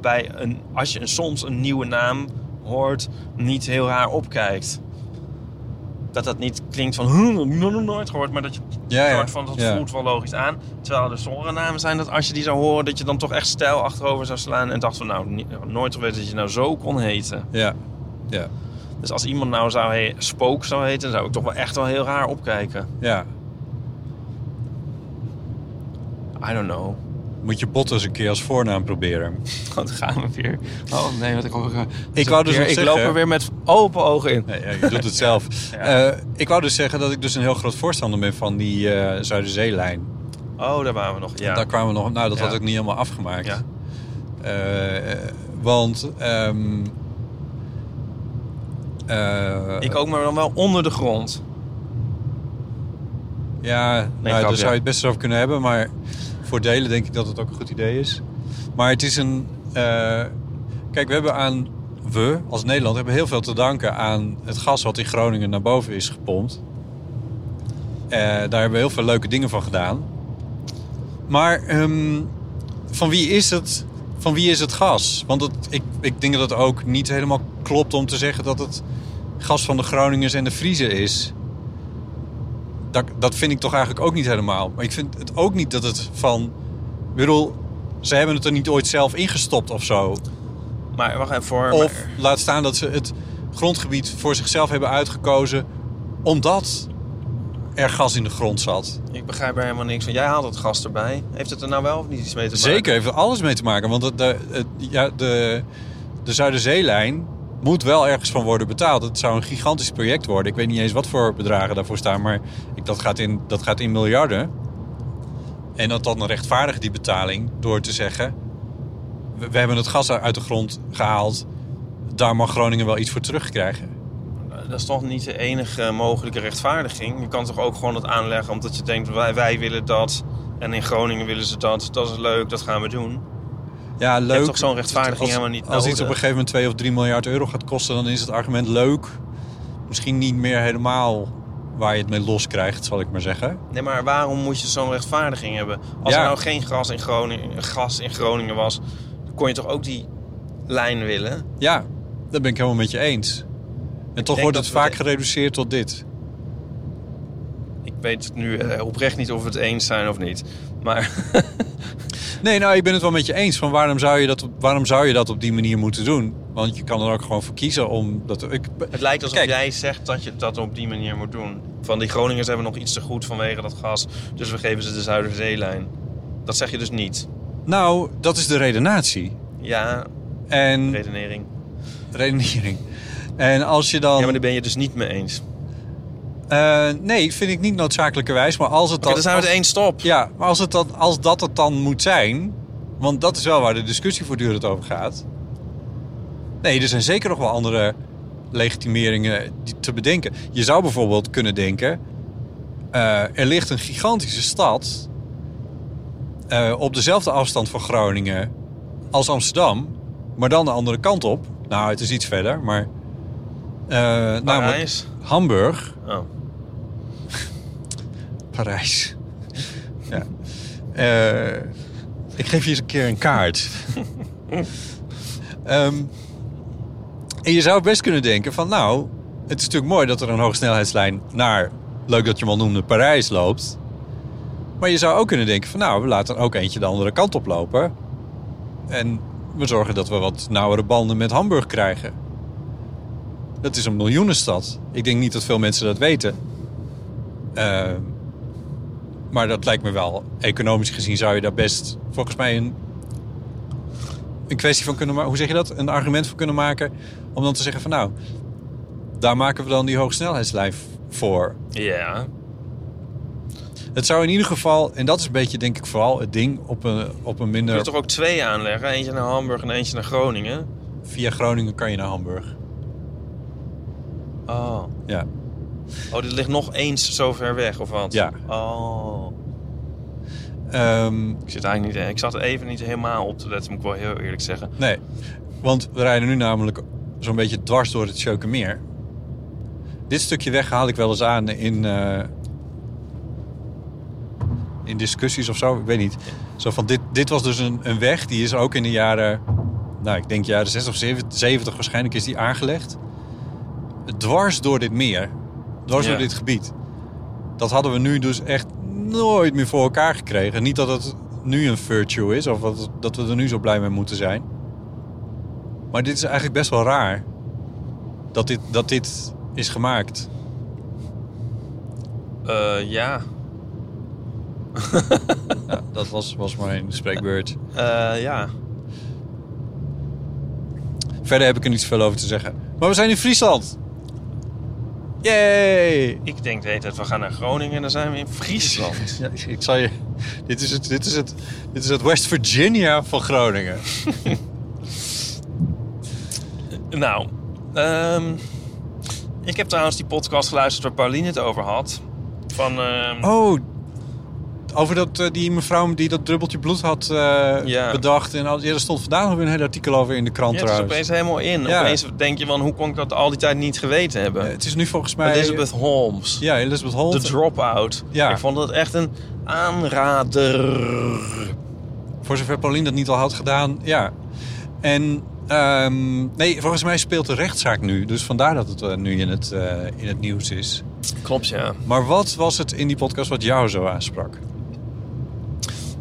B: bij een, als je een, soms een nieuwe naam hoort, niet heel raar opkijkt. Dat dat niet klinkt van, "Hm, dat heb ik nog nooit gehoord, maar dat je
C: Ja, ja.
B: soort van, dat
C: Ja.
B: voelt wel logisch aan. Terwijl er sommige namen zijn dat als je die zou horen, dat je dan toch echt stijl achterover zou slaan en dacht van, nou, ni- nooit geweten dat je nou zo kon heten.
C: Ja, ja,
B: Dus als iemand nou zou he- spook zou heten, zou ik toch wel echt wel heel raar opkijken.
C: ja.
B: I don't know. [laughs]
C: Moet je bot eens een keer als voornaam proberen.
B: Wat gaan we weer? Oh nee, wat ik ook.
C: Ik wou dus nog
B: ik
C: zeggen-
B: loop er weer met open ogen in.
C: Nee, ja, je doet
B: [laughs]
C: het zelf. Eh, ik wou dus zeggen dat ik dus een heel groot voorstander ben van die eh, Zuiderzeelijn.
B: Oh, daar waren we nog. Ja.
C: Daar kwamen we nog... Nou, dat
B: Ja.
C: had ik niet helemaal afgemaakt.
B: Ja.
C: Eh, eh, want... ehm, eh,
B: Ik ook, maar dan wel onder de grond.
C: Ja, nou,
B: grapje.
C: daar zou je het best over kunnen hebben. Maar voor delen denk ik dat het ook een goed idee is. Maar het is een... eh, kijk, we hebben aan... We, als Nederland, hebben heel veel te danken aan het gas wat in Groningen naar boven is gepompt. Eh, daar hebben we heel veel leuke dingen van gedaan. Maar ehm, van, wie is het, van wie is het gas? Want het, ik, ik denk dat het ook niet helemaal klopt om te zeggen dat het gas van de Groningers en de Friese is dat, dat vind ik toch eigenlijk ook niet helemaal. Maar ik vind het ook niet dat het van... Ik bedoel, ze hebben het er niet ooit zelf ingestopt of zo.
B: Maar wacht even voor.
C: Of
B: maar-
C: laat staan dat ze het grondgebied voor zichzelf hebben uitgekozen... omdat er gas in de grond zat.
B: ik begrijp er helemaal niks van. Jij haalt het gas erbij. Heeft het er nou wel of niet iets mee te maken?
C: Zeker, heeft er alles mee te maken. Want het- de, het- ja, de, de Zuiderzeelijn moet wel ergens van worden betaald. Het zou een gigantisch project worden. Ik weet niet eens wat voor bedragen daarvoor staan. Maar ik, dat, gaat in, dat gaat in miljarden. En dat dan rechtvaardig die betaling door te zeggen... We, we hebben het gas uit de grond gehaald. Daar mag Groningen wel iets voor terugkrijgen.
B: Eh, Dat is toch niet de enige mogelijke rechtvaardiging. Je kan toch ook gewoon het aanleggen omdat je denkt wij, wij willen dat. En in Groningen willen ze dat. Dat is leuk, dat gaan we doen.
C: Ja, leuk.
B: toch zo'n rechtvaardiging
C: Als-
B: helemaal niet
C: Als iets
B: nodig.
C: op een gegeven moment 2 of 3 miljard euro gaat kosten, dan is het argument leuk. Misschien niet meer helemaal waar je het mee los krijgt, zal ik maar zeggen.
B: Nee, maar waarom moet je zo'n rechtvaardiging hebben? Als
C: Ja.
B: er nou geen gas in, Groningen, gas in Groningen was, kon je toch ook die lijn willen?
C: Ja, dat ben ik helemaal met je eens. En toch
B: denk
C: wordt
B: dat
C: het
B: we
C: vaak
B: de-
C: gereduceerd tot dit.
B: Ik weet het nu eh, oprecht niet of we het eens zijn of niet. Maar [laughs]
C: Nee, nou, ik ben het wel met je eens. Van waarom, zou je dat, op- waarom zou je dat op die manier moeten doen? Want je kan er ook gewoon voor kiezen om dat... Ik,
B: het lijkt alsof
C: Kijk.
B: jij zegt dat je dat op die manier moet doen. Van die Groningers hebben nog iets te goed vanwege dat gas. Dus we geven ze de Zuiderzeelijn. Dat zeg je dus niet.
C: Nou, dat is de redenatie.
B: Ja,
C: En
B: redenering.
C: redenering. En als je dan...
B: Ja, maar daar ben je dus niet mee eens. Oké,
C: Eh, nee, vind ik niet noodzakelijkerwijs. Maar als het dan...
B: dan zijn we
C: als-
B: het eens, stop.
C: Ja, maar als, het dan, als dat het dan moet zijn... want dat is wel waar de discussie voortdurend over gaat. Nee, er zijn zeker nog wel andere legitimeringen die te bedenken. Je zou bijvoorbeeld kunnen denken... eh, er ligt een gigantische stad... eh, op dezelfde afstand van Groningen als Amsterdam... maar dan de andere kant op. Nou, het is iets verder, maar... eh, namelijk
B: Parijs.
C: Hamburg...
B: Oh.
C: Parijs. ja. Eh, ik geef je eens een keer een kaart. Ehm, en je zou best kunnen denken van... nou, het is natuurlijk mooi dat er een hoogsnelheidslijn naar... leuk dat je hem al noemde, Parijs loopt. Maar je zou ook kunnen denken van nou, we laten ook eentje de andere kant op lopen. En we zorgen dat we wat nauwere banden met Hamburg krijgen. Dat is een miljoenenstad. Ik denk niet dat veel mensen dat weten. Eh, maar dat lijkt me wel. Economisch gezien zou je daar best volgens mij een, een kwestie van kunnen maken. Hoe zeg je dat? Een argument voor kunnen maken. Om dan te zeggen van nou, daar maken we dan die hoogsnelheidslijn voor.
B: Ja.
C: Het zou in ieder geval, en dat is een beetje denk ik vooral het ding op een, op een
B: Kun je
C: minder...
B: toch ook twee aanleggen? Eentje naar Hamburg en eentje naar Groningen?
C: Via Groningen kan je naar Hamburg.
B: Oh.
C: Ja.
B: Oh, dit ligt nog eens zo ver weg, of wat?
C: Ja.
B: Oh.
C: Ehm,
B: Ik zit eigenlijk niet... Ik zat even niet helemaal op te letten, moet ik wel heel eerlijk zeggen.
C: nee, want we rijden nu namelijk zo'n beetje dwars door het Sjookemeer. Dit stukje weg haal ik wel eens aan in, eh, in discussies of zo, ik weet niet. Zo van, dit, dit was dus een, een weg, die is ook in de jaren... Nou, ik denk jaren 60 of 70, 70 waarschijnlijk is die aangelegd. Dwars door dit meer. Dwars
B: Ja.
C: door dit gebied. Dat hadden we nu dus echt nooit meer voor elkaar gekregen. Niet dat het nu een virtue is of dat, dat we er nu zo blij mee moeten zijn. Maar dit is eigenlijk best wel raar. Dat dit, dat dit is gemaakt.
B: Eh, ja.
C: Dat was, was mijn spreekbeurt.
B: Eh, ja.
C: Verder heb ik er niet zoveel over te zeggen. Maar we zijn in Friesland. Yay!
B: Ik denk de hele tijd, we gaan naar Groningen en dan zijn we in
C: [laughs]
B: Friesland.
C: Ja, ik- ik zal je... Dit is het, dit is het, dit is het West Virginia van Groningen.
B: nou, ehm, ik heb trouwens die podcast geluisterd waar Pauline het over had. Van, ehm,
C: Oh, over dat, eh, die mevrouw die dat druppeltje bloed had eh,
B: Ja.
C: bedacht. En al, ja, er stond vandaag nog weer een hele artikel over in de krant
B: ja, het is
C: trouwens.
B: opeens helemaal in.
C: Ja.
B: Opeens denk je van, hoe kon ik dat al die tijd niet geweten hebben?
C: Eh, het is nu volgens mij...
B: Elizabeth Holmes.
C: Ja, Elizabeth Holt.
B: The Dropout.
C: Ja.
B: Ik vond het echt een aanrader.
C: Voor zover Paulien dat niet al had gedaan, ja. En ehm, nee, volgens mij speelt de rechtszaak nu. Dus vandaar dat het eh, nu in het, eh, in het nieuws is.
B: Klopt, ja.
C: Maar wat was het in die podcast wat jou zo aansprak?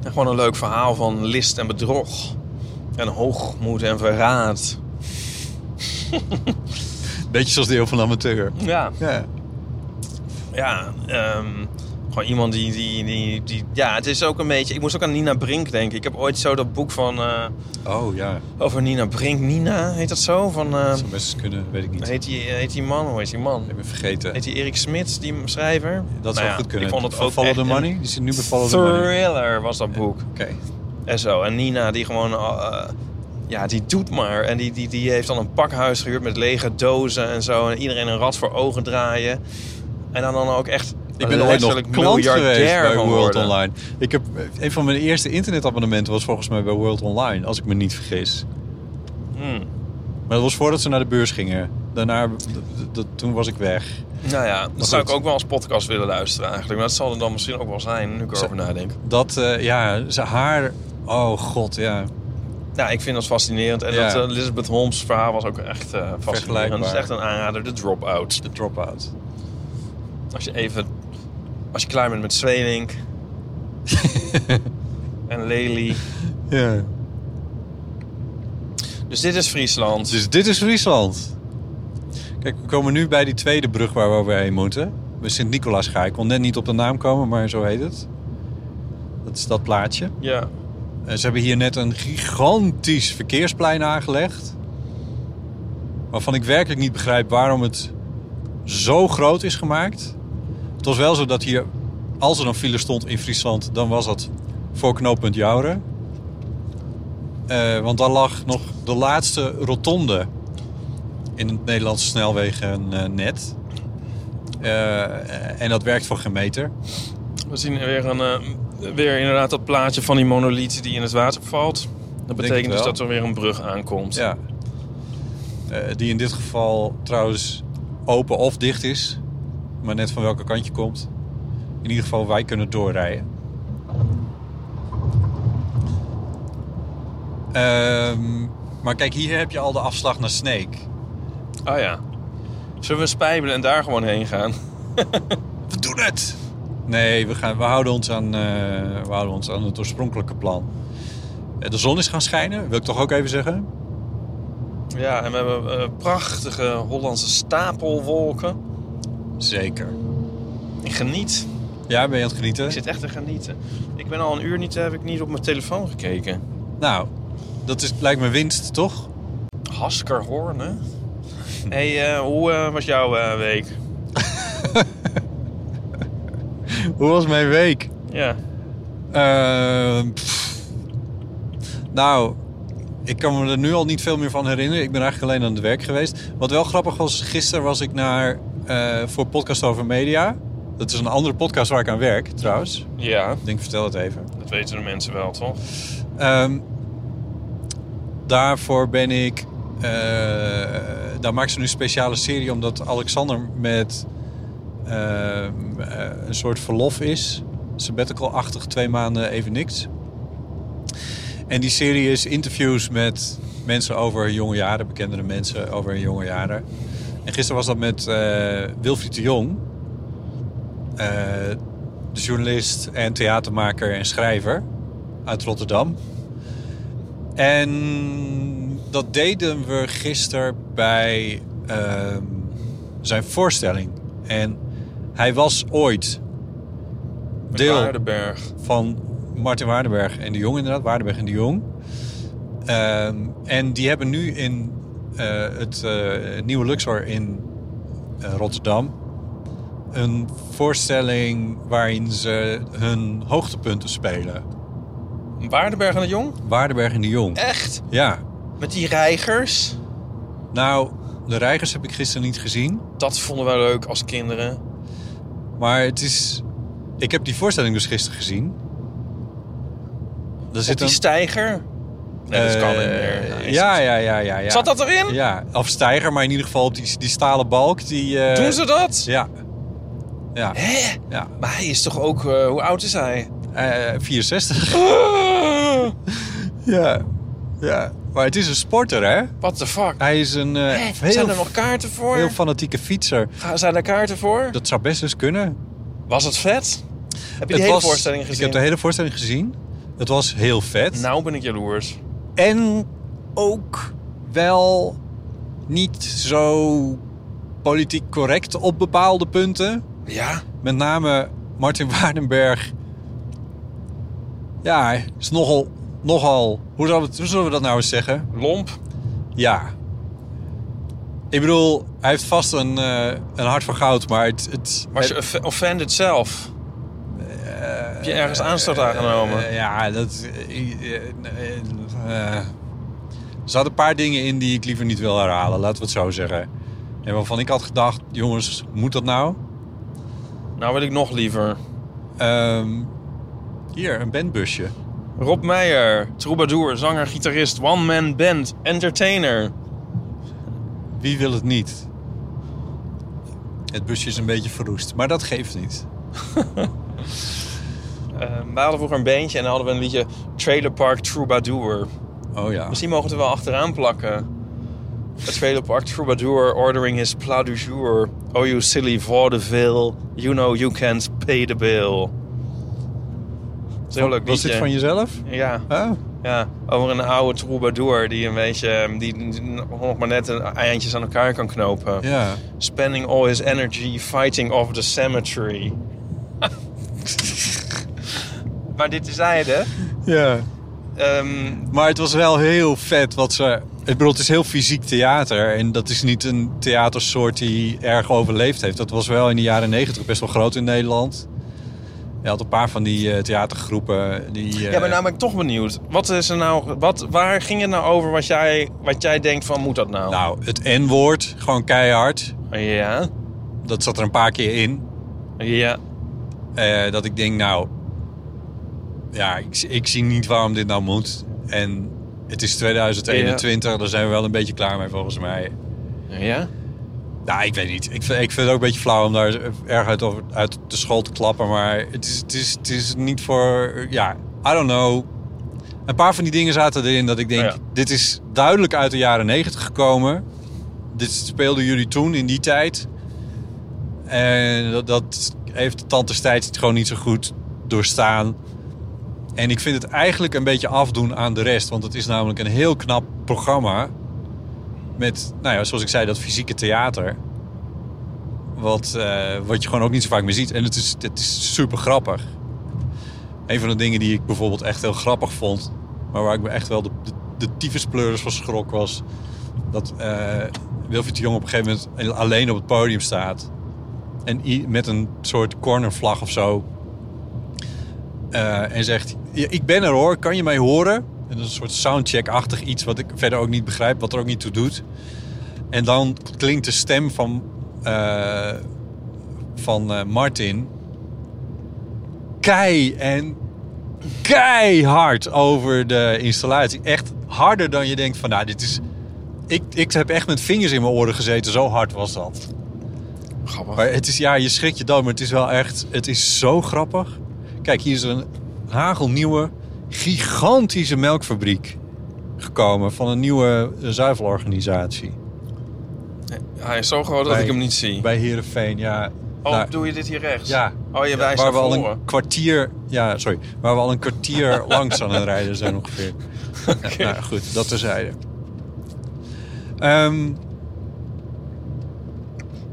B: En gewoon een leuk verhaal van list en bedrog. En hoogmoed en verraad.
C: Beetje zoals deel van de amateur.
B: Ja.
C: Ja.
B: ja, ehm, gewoon iemand die, die, die, die... Ja, het is ook een beetje... Ik moest ook aan Nina Brink denken. Ik heb ooit zo dat boek van... eh,
C: Oh ja,
B: over Nina Brink. Nina, heet dat zo? Van, eh,
C: dat zou best eens kunnen, weet ik niet. Ik
B: heet, die, eh, heet die man? Hoe heet die man?
C: heb hem vergeten.
B: Heet die Erik Smit, die schrijver?
C: Dat zou
B: Nou ja,
C: goed kunnen.
B: Ik vond het
C: Van
B: ook
C: Follow
B: echt
C: the
B: een
C: Money? Die zit nu bij Follow the Money.
B: Thriller was dat boek.
C: Oké.
B: En zo. En Nina, die gewoon... eh, ja, die doet maar. En die, die, die heeft dan een pakhuis gehuurd met lege dozen en zo. En iedereen een rat voor ogen draaien. En dan, dan ook echt...
C: Ik ben ooit nog
B: letterlijk
C: klant geweest
B: miljardair
C: bij
B: van
C: World
B: worden.
C: Online. Ik heb, eh, een van mijn eerste internetabonnementen was volgens mij bij World Online, als ik me niet vergis.
B: Hmm.
C: Maar dat was voordat ze naar de beurs gingen. Daarna, d- d- d- toen was ik weg.
B: Nou ja, dat zou ik
C: goed.
B: ook wel als podcast willen luisteren eigenlijk. Maar dat zal er dan misschien ook wel zijn, nu ik erover nadenk.
C: Dat, eh, ja, ze, haar... Oh god, ja.
B: Ja, ik vind dat fascinerend. En
C: Ja.
B: dat eh, Elizabeth Holmes verhaal was ook echt eh fascinerend.
C: Vergelijkbaar.
B: Dat is echt een aanrader, de drop-out.
C: De drop-out. [laughs]
B: Als je even... Als je klaar bent met Zwelink... en
C: [laughs]
B: Lely.
C: Ja.
B: Dus dit is Friesland.
C: Dus dit is Friesland. Kijk, we komen nu bij die tweede brug waar we overheen moeten. Bij Sint-Nicolaas ga ik. kon net niet op de naam komen, maar zo heet het. Dat is dat plaatje.
B: Ja.
C: Eh, Ze hebben hier net een gigantisch verkeersplein aangelegd. Waarvan ik werkelijk niet begrijp waarom het zo groot is gemaakt. Het was wel zo dat hier, als er een file stond in Friesland, dan was dat voor knooppunt Jouren. Eh, want daar lag nog de laatste rotonde in het Nederlandse snelwegennet. Eh, en dat werkt voor geen meter.
B: We zien weer, een, eh, weer inderdaad dat plaatje van die monolith die in het water valt. Dat betekent dus
C: wel.
B: dat er weer een brug aankomt.
C: Ja. Eh, die in dit geval trouwens open of dicht is. Maar net van welke kant je komt. In ieder geval, wij kunnen doorrijden. Ehm, maar kijk, hier heb je al de afslag naar Snake.
B: Ah ja. Zullen we spijbelen en daar gewoon heen gaan?
C: We doen het! Nee, we, gaan, we, houden ons aan, eh, we houden ons aan het oorspronkelijke plan. Eh, De zon is gaan schijnen, wil ik toch ook even zeggen.
B: Ja, en we hebben eh, prachtige Hollandse stapelwolken.
C: Zeker.
B: Ik geniet.
C: Ja, ben je aan het genieten?
B: Ik zit echt te genieten. Ik ben al een uur niet, heb ik niet op mijn telefoon gekeken.
C: Nou, dat is, lijkt me winst, toch?
B: Haskerhoorn, hè? hey, eh, hoe eh, was jouw eh, week?
C: Hoe was mijn week?
B: Ja.
C: Eh, pff. nou, ik kan me er nu al niet veel meer van herinneren. Ik ben eigenlijk alleen aan het werk geweest. Wat wel grappig was, gisteren was ik naar, eh, voor Podcast Over Media. Dat is een andere podcast waar ik aan werk, trouwens.
B: Ja,
C: Ik denk, vertel het even.
B: dat weten de mensen wel, toch?
C: Ehm, daarvoor ben ik. eh, daar maakt ze nu een speciale serie omdat Alexander met ehm, eh, een soort verlof is. Sabbatical-achtig, twee maanden even niks. En die serie is interviews met mensen over hun jonge jaren, bekendere mensen over hun jonge jaren. En gisteren was dat met eh Wilfried de Jong, eh, de journalist en theatermaker en schrijver uit Rotterdam. En dat deden we gisteren bij ehm, zijn voorstelling. En hij was ooit deel
B: Waardenberg.
C: van Martin Waardenberg en de Jong, inderdaad. Waardenberg en de Jong. Ehm, en die hebben nu in eh, het eh, nieuwe Luxor in eh, Rotterdam een voorstelling waarin ze hun hoogtepunten spelen.
B: Waardenberg en de Jong?
C: Waardenberg en de Jong.
B: Echt?
C: Ja.
B: Met die reigers?
C: Nou, de reigers heb ik gisteren niet gezien.
B: Dat vonden wij leuk als kinderen.
C: Maar het is... Ik heb die voorstelling dus gisteren gezien. Daar
B: Zit
C: zit
B: die
C: een...
B: stijger? Nee, dat kan niet
C: eh,
B: meer. Nee, is
C: ja,
B: het-
C: ja, ja, ja, ja.
B: Zat dat erin?
C: Ja, of stijger, maar in ieder geval op die, die stalen balk. Die, eh,
B: Doen ze dat?
C: Ja. Ja.
B: Hè?
C: ja.
B: Maar hij is toch ook... eh, hoe oud is hij?
C: Eh, 64.
B: Ah,
C: ja. Ja. Maar het is een sporter, hè?
B: What the fuck?
C: Hij is een eh,
B: Hè?
C: heel,
B: Zijn er nog kaarten voor?
C: heel fanatieke fietser.
B: Ga- Zijn er kaarten voor?
C: Dat zou best eens kunnen.
B: Was het vet? Heb je
C: Het
B: die hele
C: was-
B: voorstelling
C: Ik
B: gezien?
C: heb de hele voorstelling gezien. Het was heel vet.
B: Nou ben ik jaloers.
C: En ook wel niet zo politiek correct op bepaalde punten.
B: Ja?
C: Met name Martin [laughs] Waardenberg. Ja, is nogal. nogal hoe, zullen we, het- hoe zullen we dat nou eens zeggen?
B: Lomp?
C: Ja. Ik bedoel, hij heeft vast een, eh, een hart van goud, maar het. het
B: Was je off- offended zelf? Heb je ergens aanstoot aangenomen?
C: Eh, ja, dat. eh, eh, eh, eh. er zaten een paar dingen in die ik liever niet wil herhalen, laten we het zo zeggen. En waarvan ik had gedacht, jongens, moet dat nou?
B: Nou wil ik nog liever.
C: Ehm, hier, een bandbusje.
B: Rob Meijer, troubadour, zanger, gitarist, one-man band, entertainer.
C: Wie wil het niet? Het busje is een beetje verroest, maar dat geeft niet.
B: Eh, we hadden vroeger een bandje en dan hadden we een liedje Trailer Park Troubadour.
C: Oh ja.
B: Misschien mogen we het er wel achteraan plakken. Het Trailer Park Troubadour ordering his plat du jour. Oh you silly vaudeville, you know you can't pay the bill. Het is een heel leuk
C: Was
B: liedje.
C: dit van jezelf?
B: Ja,
C: Oh.
B: ja, over een oude troubadour die een beetje... eh, die nog maar net een eindjes aan elkaar kan knopen.
C: Ja.
B: Spending all his energy fighting off the
C: [laughs]
B: cemetery. maar dit is hij, hè?
C: Ja.
B: Ehm,
C: Maar het was wel heel vet wat ze... Ik bedoel, het is heel fysiek theater. En dat is niet een theatersoort die erg overleefd heeft. Dat was wel in de jaren negentig best wel groot in Nederland. Je had een paar van die eh, theatergroepen die... eh,
B: ja, maar nou ben ik toch benieuwd. Wat is er nou, wat, waar ging het nou over wat jij, wat jij denkt van moet dat nou?
C: Nou, het N-woord, gewoon keihard.
B: Ja,
C: Dat zat er een paar keer in.
B: ja.
C: Eh, dat ik denk, nou... Ja, ik, ik zie niet waarom dit nou moet. En het is 2021, daar zijn we wel een beetje klaar mee volgens mij.
B: Ja?
C: Nou, ik weet niet. Ik vind, ik vind het ook een beetje flauw om daar erg uit, over- uit de school te klappen. Maar het is, het, is, het is niet voor... Ja, I don't know. Een paar van die dingen zaten erin dat ik denk...
B: Ja.
C: Dit is duidelijk uit de jaren negentig gekomen. Dit speelden jullie toen, in die tijd. En dat, dat heeft de tand destijds het gewoon niet zo goed doorstaan. En ik vind het eigenlijk een beetje afdoen aan de rest. Want het is namelijk een heel knap programma. Met, nou ja, zoals ik zei, dat fysieke theater. Wat, eh, wat je gewoon ook niet zo vaak meer ziet. En het is, het is super grappig. Een van de dingen die ik bijvoorbeeld echt heel grappig vond. Maar waar ik me echt wel de, de, de tyfuspleurers van schrok was. Dat eh Wilfried de Jong op een gegeven moment alleen op het podium staat. En i- met een soort cornervlag of zo eh, en zegt: "Ja, Ik ben er hoor, kan je mij horen? En dat is een soort soundcheck-achtig iets wat ik verder ook niet begrijp, wat er ook niet toe doet. En dan klinkt de stem van, eh, van eh, Martin kei en keihard over de installatie. Echt harder dan je denkt van, nou, dit is... Ik, ik heb echt met vingers in mijn oren gezeten, zo hard was dat.
E: Grappig.
C: Maar het is, ja, je schrikt je dood, maar het is wel echt, het is zo grappig. Kijk, hier is een hagelnieuwe, gigantische melkfabriek gekomen van een nieuwe eh, zuivelorganisatie.
E: Hij is zo groot dat
C: Bij-
E: ik hem niet zie.
C: Bij Heerenveen, ja.
E: Oh,
C: nou,
E: doe je dit hier rechts?
C: ja.
E: Oh, je wijst
C: waar
E: naar
C: we al
E: voren.
C: een kwartier, ja, sorry, waar we al een
E: [laughs]
C: kwartier langs aan het rijden zijn ongeveer. Nou goed, dat terzijde. Ehm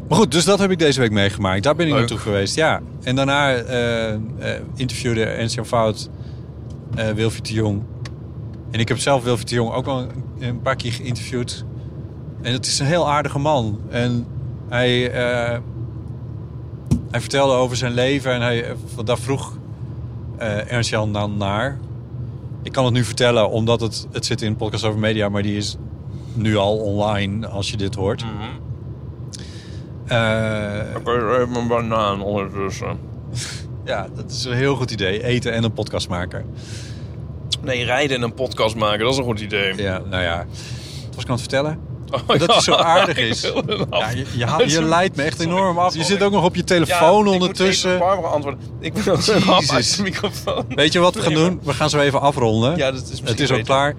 C: maar goed, dus dat heb ik deze week meegemaakt. Daar ben ik
E: Leuk.
C: naartoe geweest, ja. En daarna eh, eh, interviewde Ernst Jan Fout eh Wilfried de Jong. En ik heb zelf Wilfried de Jong ook al een- een paar keer geïnterviewd. En het is een heel aardige man. En hij, eh, hij vertelde over zijn leven en hij, eh, want daar vroeg eh Ernst-Jan dan naar. Ik kan het nu vertellen, omdat het, het zit in podcast over media, maar die is nu al online als je dit hoort. Eh,
B: Ik eet even een banaan ondertussen.
C: ja, dat is een heel goed idee. Eten en een podcast maken.
B: Nee, rijden en een podcast maken, dat is een goed idee.
C: Ja, nou ja. Dat was ik aan het vertellen.
B: Oh,
C: dat hij zo [laughs] aardig
B: ik
C: is.
B: wilde hem
C: Ja,
B: af.
C: je, je, [laughs] haalt- je leidt me echt enorm af. Oh, Je zit ook nog op je telefoon
B: Ja, Ik
C: ondertussen. Oh,
B: moet even Barbara antwoorden. Ik
C: [laughs]
B: ben ook een hap uit
C: Jezus.
B: de microfoon.
C: Weet je wat we gaan
B: Nee, maar-
C: doen? We gaan zo even afronden.
B: Ja, dat is misschien
C: Het is ook
B: beter.
C: klaar.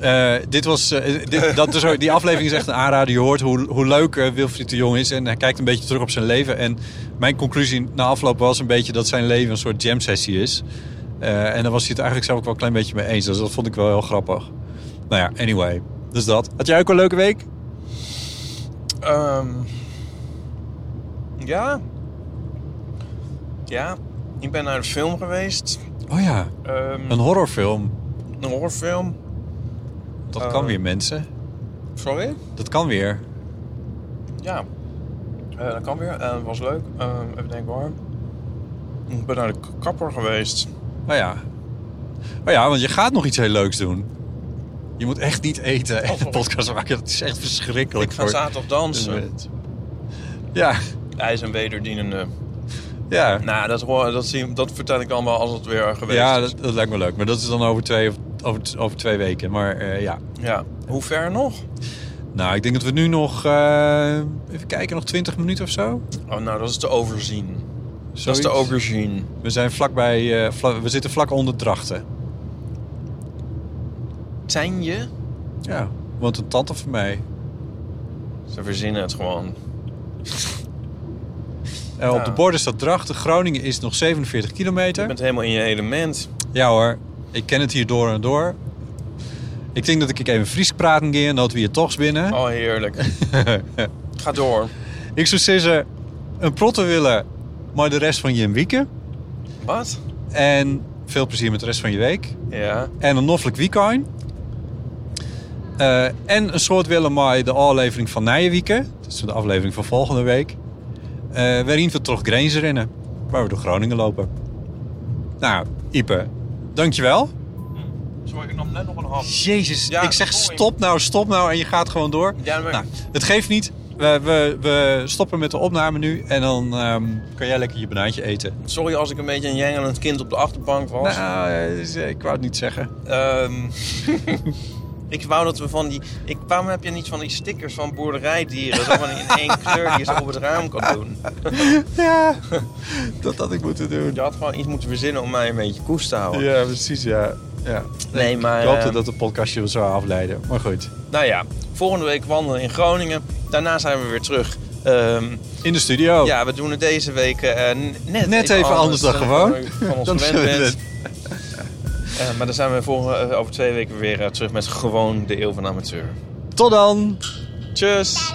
C: Eh, dit was, eh,
B: [laughs]
C: dit, dat is, ook- die aflevering is echt een aanrader. Je hoort hoe, hoe leuk eh, Wilfried de Jong is. En hij kijkt een beetje terug op zijn leven. En mijn conclusie na afloop was een beetje dat zijn leven een soort jam sessie is. Eh, en daar was hij het eigenlijk zelf ook wel een klein beetje mee eens. Dus dat vond ik wel heel grappig. Nou ja, anyway. Dus dat. Had jij ook een leuke week?
B: Ehm, ja. Ja. Ik ben naar de film geweest.
C: Oh ja,
B: Ehm,
C: een horrorfilm.
B: een horrorfilm.
C: Dat kan
B: Eh.
C: weer, mensen.
B: Sorry?
C: Dat kan weer.
B: Ja. Eh, dat kan weer. Eh, Het was leuk. Eh, even denken hoor. Ik ben naar de k- kapper geweest.
C: Oh ja. Oh ja, want je gaat nog iets heel leuks doen. Je moet echt niet eten en een podcast maken. Dat is echt verschrikkelijk.
B: Oh, Ik ga zaterdag dansen.
C: eh, Ja,
B: IJs en wederdienende.
C: ja.
B: Nou, dat, hoor, dat, zie, dat vertel ik allemaal als het weer geweest
C: ja
B: is.
C: dat, dat lijkt me leuk. Maar dat is dan over twee, of- over, over twee weken. Maar eh, ja.
B: Ja. Hoe ver nog?
C: Nou, ik denk dat we nu nog... eh, even kijken, nog 20 minuten of zo?
B: Oh, nou, dat is te overzien. Dat
C: Zoiets.
B: is te overzien.
C: We, zijn vlakbij, eh, vla- we zitten vlak onder drachten.
B: Zijn je?
C: Ja, want een tante van mij...
B: Ze verzinnen het gewoon.
C: eh, Op de borden staat drachten. Groningen is nog 47 kilometer.
B: Je bent helemaal in je element.
C: Ja hoor, ik ken het hier door en door. Ik denk dat ik even Fries praat een keer en dat we hier toch binnen.
B: Oh, heerlijk. Ga door.
C: [laughs] Ik zou zeggen, een protte willen, maar de rest van je weekend.
B: Wat?
C: En veel plezier met de rest van je week.
B: Ja.
C: En een noffelijk weekend. Eh, en een soort willen maar de aflevering van Nijenwieken. Dat is de aflevering van volgende week. Eh waarin we toch grenzen rennen. Waar we door Groningen lopen. Nou, Ipe, dankjewel.
B: Sorry, ik nam net nog een hap.
C: Jezus,
B: Ja,
C: ik zeg
B: sorry.
C: stop nou, stop nou en je gaat gewoon door.
B: Ja, maar-
C: nou, het geeft niet. We, we, we stoppen met de opname nu en dan ehm, kan jij lekker je banaantje eten.
B: Sorry als ik een beetje een jengelend kind op de achterbank was.
C: Nou, eh, dus, eh, ik wou het niet
B: [laughs]
C: zeggen. [laughs]
B: Ehm, ik wou dat we van die... Ik, waarom heb je niet van die stickers van boerderijdieren... zo van in één kleur die je zo op het raam kan doen?
C: Ja, dat had ik moeten doen.
B: Je had gewoon iets moeten verzinnen om mij een beetje koest te houden.
C: Ja, precies, ja. ja.
B: Nee, maar,
C: Ik hoopte
B: ehm,
C: dat de podcastje wel zou afleiden, maar goed.
B: Nou ja, volgende week wandelen in Groningen. Daarna zijn we weer terug Ehm,
C: In de studio.
B: Ja, we doen het deze week eh, n- net,
C: Oh. Net even anders dan gewoon.
B: u Van ons
C: [laughs]
B: gewend
C: Dan zullen we
B: bent. Eh, maar dan zijn we volgende, eh, over twee weken weer eh, terug met gewoon de Eeuw van Amateur.
C: Tot dan.
B: Tjus!